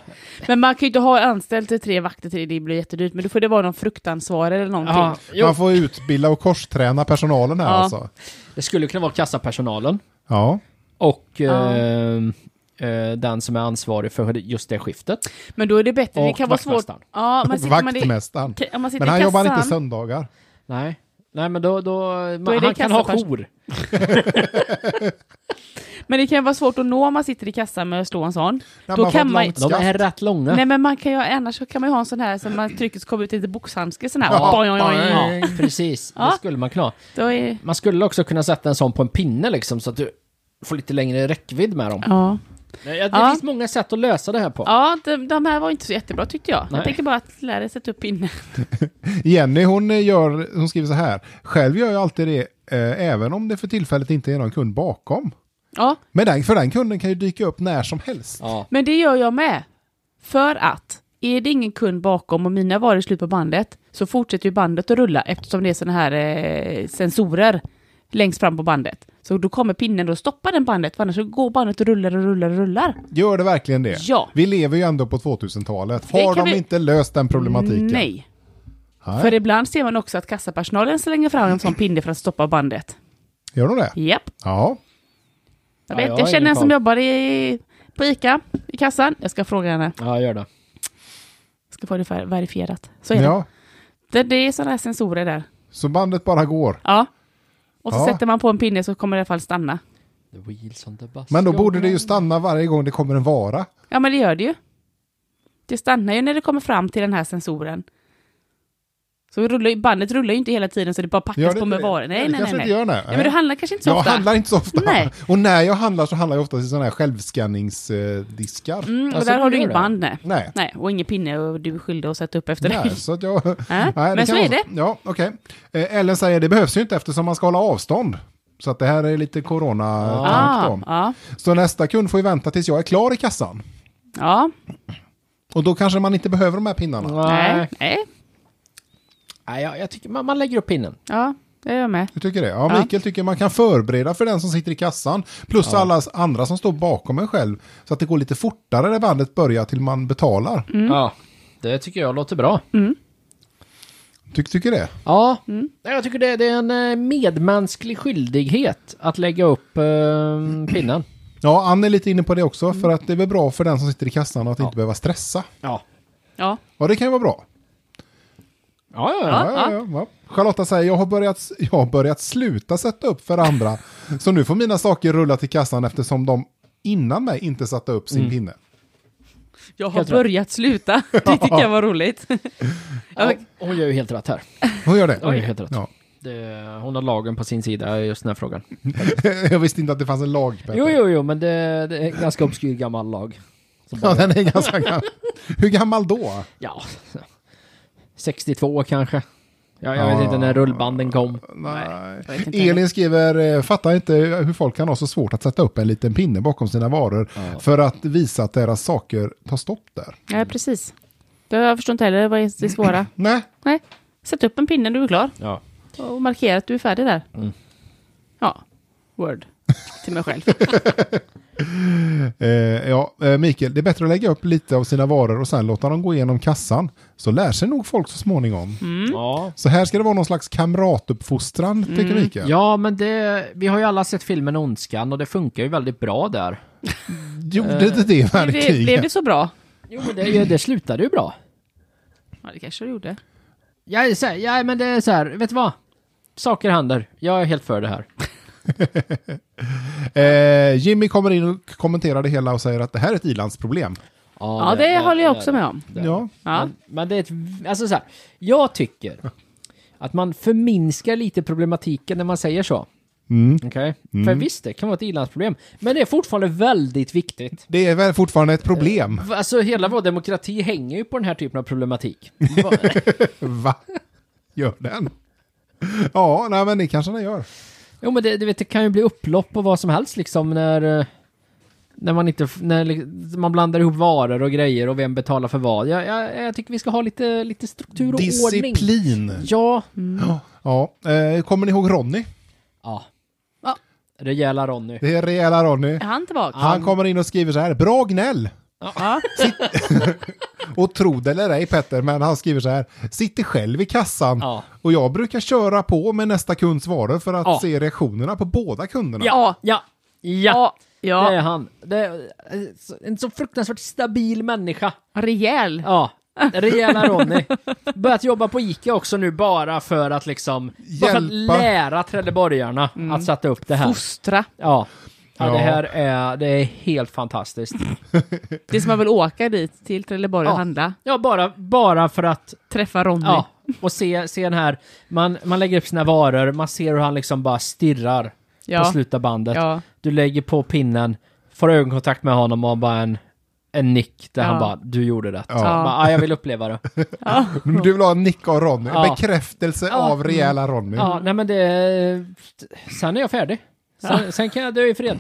Men man kan ju inte ha anställt till tre vakter till det, det blir jättedyrt. Men då får det vara någon fruktansvarig eller någonting.
ja. Jo,
Man får utbilda och korsträna personalen här
Ja.
alltså.
det skulle kunna vara kassapersonalen
Ja.
och
Ja.
ehm, eh, den som är ansvarig för just det skiftet.
Men då är det bättre. Det
Och
kan vara svårt.
vaktmästaren.
Ja, man sitter, man i,
Vaktmästaren.
om man sitter
Men han
i kassan.
jobbar inte söndagar.
Nej, Nej men då, då,
är
man,
det
han kan ha
kassapers-
jour.
Men det kan vara svårt att nå om man sitter i kassan med att slå en sån.
När
då
man får
kan
ett
man
långt-
De är
Skaft.
rätt långa.
Nej men man kan ju, annars så kan man ju ha en sån här som man trycker så kommer ut lite boxhandske sån här.
Ja.
Boing, boing, boing.
Ja, precis.
Ja.
Det skulle man kunna ha.
Då är,
Man skulle också kunna sätta en sån på en pinne liksom så att du får lite längre räckvidd med dem.
ja.
Det, det
Ja.
finns många sätt att lösa det här på.
ja, de, de här var inte så jättebra tyckte jag.
Nej.
Jag tänker bara att lära dig sätta upp pinnen.
Jenny hon, gör, hon skriver så här. Själv gör jag alltid det eh, även om det för tillfället inte är någon kund bakom.
Ja,
Men den, för den kunden kan ju dyka upp när som helst.
Ja.
men det gör jag med. För att är det ingen kund bakom och mina varor är slut på bandet så fortsätter ju bandet att rulla eftersom det är såna här eh, sensorer längst fram på bandet. Så då kommer pinnen och stoppar den bandet för annars så går bandet och rullar och rullar och rullar.
Gör det verkligen det?
Ja.
Vi lever ju ändå på 2000-talet.
Det
Har de
kan vi-
inte löst den problematiken?
Nej.
Nej.
För ibland ser man också att kassapersonalen slänger fram en sån pinne för att stoppa bandet.
Gör de det?
Japp.
Ja.
Ja,
Jag vet,
jag
jag
har
känner
ingen
en som
koll.
jobbar i, på ICA i kassan. Jag ska fråga henne.
ja, gör det.
Jag ska få det ver- verifierat. Så är
ja.
det. det. Det är sådana här sensorer där.
Så bandet bara går.
Ja. Och så
Ja.
sätter man på en pinne så kommer det i alla fall stanna.
The wheels on the bus.
Men då
go
borde det ju
round.
stanna varje gång det kommer en vara.
Ja, men det gör det ju. Det stannar ju när det kommer fram till den här sensoren. Så rullar, ju- bandet rullar ju inte hela tiden så det bara
Gör
packas
det inte
på med
det?
varor. Nej,
det
nej, nej.
kanske
nej.
inte gör det.
Ja, men du handlar kanske inte så
jag
ofta.
handlar inte så ofta.
Nej.
Och när jag handlar så handlar jag ofta i sådana här självskanningsdiskar.
Mm, och
Alltså,
där
du
har du
gör
inget
det?
band, nej.
Nej.
Nej, och ingen pinne och du är skyldig att sätta upp efter
Nej, (laughs)
dig.
så att
(laughs)
jag...
men
kan
så
vara
är det.
Ja, okej. Eh, Ellen säger det behövs ju inte eftersom man ska hålla avstånd. Så att det här är lite corona
Ah,
ah.
ja,
Så nästa kund får ju vänta tills jag är klar i kassan.
ja,
Och då kanske man inte behöver de här pinnarna.
Nej,
nej, nej,
Nej jag, jag tycker man, man lägger upp pinnen.
ja, det gör jag med.
Du tycker det? Ja,
Ja.
Mikael tycker man kan förbereda för den som sitter i kassan. Plus alla andra som står bakom en själv. Så att det går lite fortare när bandet börjar till man betalar.
Mm.
Ja, det tycker jag låter bra.
Ty tycker det?
Ja, Nej, jag tycker det, det är en eh, medmänsklig skyldighet att lägga upp eh, pinnen.
Ja, Ann är lite inne på det också.
Mm.
För att det är väl bra för den som sitter i kassan att inte behöva stressa.
Ja.
Ja,
Ja, det kan ju vara bra.
Ja, ja, ja.
Ja, ja, ja, ja. Charlotta säger, jag har, börjat, jag har börjat sluta sätta upp för andra. så nu får mina saker rulla till kassan eftersom de innan mig inte satte upp
Mm.
sin pinne.
Jag har
Helt rätt.
börjat sluta. (laughs) Det tycker jag
(laughs)
var roligt. Ja, men-
Hon gör ju helt rätt här.
Hon gör det.
Hon gör helt rätt.
Ja. (laughs)
Det, hon har lagen på sin sida i just den här frågan.
jag visste inte att det fanns en lag. Petter.
Jo, jo, jo, men det, det är en ganska obskyr gammal lag. Som
Ja,
bara,
den är ganska gammal. Hur gammal då?
ja, 62 kanske. Ja, jag
Ja.
vet inte när rullbanden kom.
Nej, jag vet inte heller.
Elin skriver, eh, fattar inte hur folk kan ha så svårt att sätta upp en liten pinne bakom sina varor för att visa att deras saker tar stopp där.
Nej, precis. Det- Jag förstår inte heller vad är
(clears throat)
det svåra.
Nej,
Nej, sätt upp en pinne du är klar
Ja.
och markera att du är färdig där.
Mm.
Ja, word till
(laughs)
mig själv.
Eh, ja, eh, Mikael, det är bättre att lägga upp lite av sina varor och sen låta dem gå igenom kassan. Så lär sig nog folk så småningom.
Mm. Ja.
Så här ska det vara någon slags kamratuppfostran, tycker Mikael.
ja, men det, vi har ju alla sett filmen Ondskan och det funkar ju väldigt bra där.
Gjorde det det
Blev det, blev
verkligen?
det så bra?
Jo, men det, det slutade ju bra.
Ja, det kanske det gjorde.
Jag är så här, ja, men det är så här, vet du vad? Saker händer. Jag är helt för det här.
Eh, Jimmy kommer in och kommenterar det hela och säger att det här är ett ilandsproblem.
Ja, det håller jag också med om.
det är det.
Ja.
Ja,
Men, men det är ett, alltså så här, jag tycker att man förminskar lite problematiken när man säger så.
Mm.
Okej? För visst, det kan vara ett i-landsproblem, men det är fortfarande väldigt viktigt.
Det är väl fortfarande ett problem.
Alltså hela vår demokrati hänger ju på den här typen av (laughs) problematik.
Va? Gör den? Ja, nej men det kanske den gör.
Jo men det, du vet, det kan ju bli upplopp och vad som helst liksom när... eh, När man inte... När li- man blandar ihop varor och grejer och vem betalar för vad. Jag, jag, jag tycker vi ska ha lite, lite struktur och ordning. Mm.
Disciplin.
Ja.
Ja, eh, kommer ni ihåg Ronny?
Ja.
Ja.
Rejäla Ronny.
Det är rejäla Ronny.
är han tillbaka?
Han kommer in och skriver så här, bra gnäll.
Ja.
Och tro det eller ej Petter, men han skriver så här. Sitter själv i kassan
Ja.
och jag brukar köra på med nästa kunds varor för att
Ja.
se reaktionerna på båda kunderna.
Ja.
Ja. Ja.
Ja.
Det är
ja.
han. Det är eh, så- en så fruktansvärt stabil människa.
Rejäl.
Ja. Rejäla Ronny. Börjat jobba på Ica också nu bara för att liksom... Bara för att
Hjälpa.
lära trelleborgarna
Mm.
att sätta upp det här.
Fostra.
Ja. Ja,
Ja.
det här är, det är helt fantastiskt.
Det är som man vill åka dit till Trelleborg och
Ja.
handla.
Ja, bara, bara för att,
Träffa Ronny.
ja, och se, se den här, man, man lägger upp sina varor, man ser hur han liksom bara stirrar
Ja.
på sluta bandet.
Ja.
Du lägger på pinnen, får ögonkontakt med honom och bara en, en nick där
Ja.
han bara, du gjorde rätt.
Ja.
Ja. Bara, "Ah, jag vill uppleva det.
Men Du vill ha en nick av Ronny, en
Ja.
bekräftelse
Ja.
av rejäla Ronny.
Ja, nej men det, sen är jag färdig. Sen, sen kan jag dö i fred.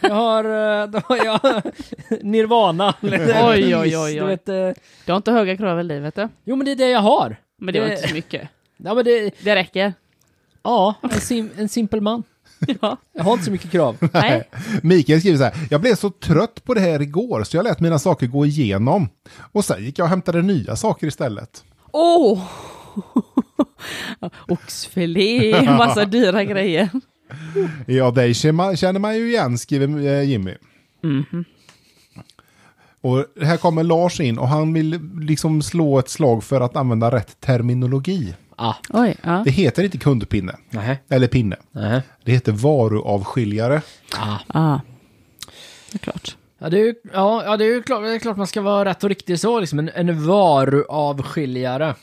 Jag har, eh, (laughs) då har jag nirvana.
Oj, oj, oj, oj.
Du vet, eh,
Du har inte höga krav i livet du.
jo men det är det jag har.
Men det var
Det-
inte så mycket.
Ja, men det, (laughs)
Det räcker.
ja en, sim, en simpel man.
(laughs) Ja.
Jag har inte så mycket krav.
Nej.
Mikael skriver så här. Jag blev så trött på det här igår så jag lät mina saker gå igenom. Och sen gick jag och hämtade nya saker istället.
Åh! (laughs) Oh! Oxfilé,
(laughs)
massa dyra grejer.
Ja, dig känner känner man ju igen, skriver eh, Jimmy. Och här kommer Lars in och han vill liksom slå ett slag för att använda rätt terminologi.
Ah,
Oj, ja.
Det heter inte kundpinne,
nej,
eller pinne.
nej.
Det heter varuavskiljare.
Ah.
Ah. Det är klart.
Ja, det är ju, ja, ja, det är ju klart, det är klart man ska vara rätt och riktig så, liksom en, en varuavskiljare.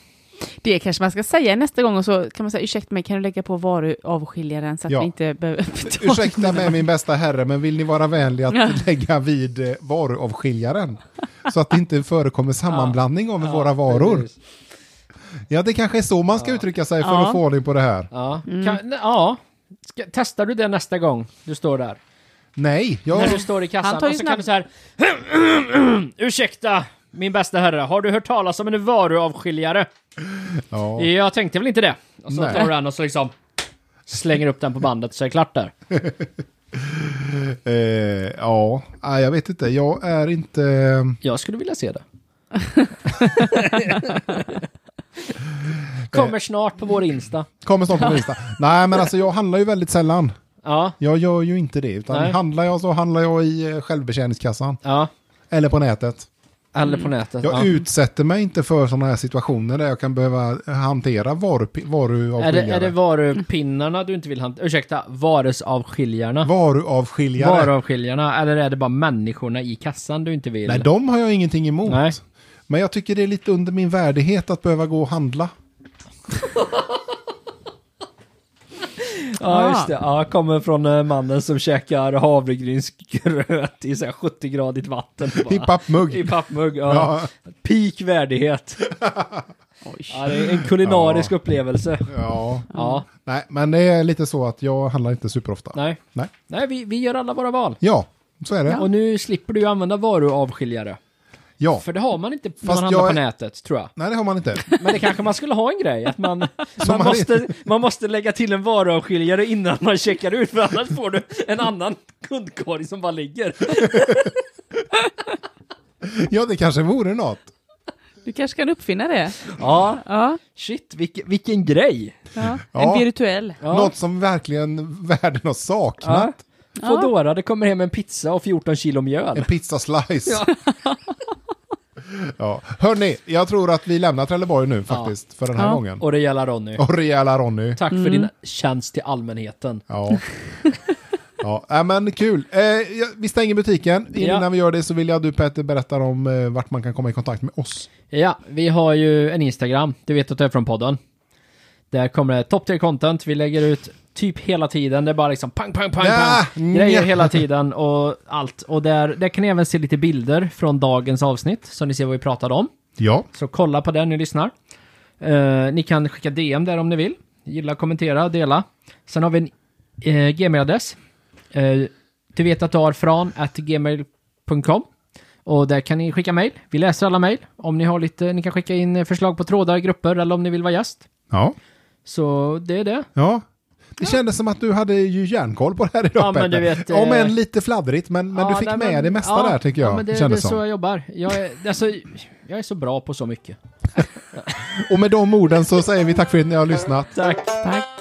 Det kanske man ska säga nästa gång och så kan man säga ursäkta mig, kan du lägga på varuavskiljaren så att
Ja.
vi inte behöver betala?
Ursäkta mig min bästa herre, men vill ni vara vänliga att lägga vid eh, varuavskiljaren? Så att det inte förekommer sammanblandning av våra varor.
precis.
Ja, det kanske är så man ska uttrycka sig för
Ja.
att få ordning på det här.
Ja,
Mm.
kan, ja. Ska, testar du det nästa gång du står där?
Nej, jag...
När du står i
Han
kassan
tar ju
och så
snabb-
kan du så här... (clears throat) Ursäkta, min bästa herre, har du hört talas om en varuavskiljare?
Ja.
Jag tänkte väl inte det. Och så
Nej.
tar du den och så liksom slänger upp den på bandet så är det klart där.
Eh, ja, Nej, jag vet inte. Jag är inte...
Jag skulle vilja
(laughs)
se det. Kommer snart på vår Insta.
Kommer snart
(laughs)
på lista. Nej, men alltså jag handlar ju väldigt sällan.
Ja,
Jag gör ju inte det. Utan
Nej.
handlar jag så handlar jag i eh, självbetjäningskassan.
ja.
Eller på nätet.
Eller på nätet.
Mm. Jag
ja.
utsätter mig inte för sådana här situationer där jag kan behöva hantera varu,
är, det, är det
varuavskiljare.
varupinnarna du inte vill hantera? Ursäkta, varusavskiljarna?
Varuavskiljare.
Varuavskiljarna? Eller är det bara människorna i kassan du inte vill?
Nej, de har jag ingenting emot.
Nej.
Men jag tycker det är lite under min värdighet att behöva gå och handla.
Ja, just det. Ja, kommer från eh, mannen som käkar havregrynsgröt i så här 70-gradigt vatten. Bara.
I
(laughs)
pappmugg.
I pappmugg, ja.
Ja.
Peak
(laughs)
värdighet.
Oj.
Ja, det är en kulinarisk
Ja.
upplevelse.
Ja.
Ja,
Nej, men det är lite så att jag handlar inte superofta.
nej.
Nej.
Nej, vi, vi gör alla våra val.
Ja, så är det.
Och nu slipper du använda varuavskiljare.
Ja.
För det har man inte när
Fast
man handlar
jag
på
är-
nätet, tror jag.
Nej, det har man inte.
Men det kanske man skulle ha en grej, att
(laughs)
man, man,
man
måste, man måste lägga till en varuavskiljare innan man checkar ut, för annars får du en annan kundkorg som bara ligger.
Ja, det kanske vore något.
Du kanske kan uppfinna det?
Ja,
Ja.
shit, vilken, vilken grej!
ja.
Ja.
En virtuell.
Ja.
Något som verkligen världen har saknat.
Ja. Foodora, det kommer hem en pizza och 14 kilo mjöl.
En pizza slice. (laughs) Ja. Hörni, jag tror att vi lämnar Trelleborg nu faktiskt för den här
Ja.
gången.
Och det gäller Ronny.
Och rejäla Ronny.
Tack för din tjänst till allmänheten.
Ja. Ja, äh, men kul. Eh, ja, vi stänger butiken.
Ja.
Innan vi gör det så vill jag du Peter berättar om eh, vart man kan komma i kontakt med oss.
Ja, vi har ju en Instagram, du vet att det är från podden. Där kommer det top tier content, vi lägger ut typ hela tiden, det är bara liksom pang, pang, pang,
Nja,
pang. Grejer
nja.
hela tiden och allt. Och där, där kan ni även se lite bilder från dagens avsnitt, så ni ser vad vi pratade om.
Ja.
Så kolla på den ni lyssnar. Eh, ni kan skicka DM där om ni vill. Gilla, kommentera, dela. Sen har vi en eh, gmail-adress. Eh, du vet att du har från at gmail.com. Och där kan ni skicka mejl. Vi läser alla mejl. Om ni har lite, ni kan skicka in eh, förslag på trådar, grupper eller om ni vill vara gäst.
Ja.
Så det är det.
ja. Det kändes som att du hade ju järnkoll på det här idag
Ja,
Peter.
men du vet, eh,
Om än lite fladdrigt, men, men
Ja,
du fick
nej,
med
men-
det mesta
ja,
där tycker jag.
Ja, men det, det är
kändes
så
som.
jag jobbar. Jag är, alltså, jag är så bra på så mycket.
Och med de orden så säger vi tack för att ni har lyssnat.
Tack.
Tack.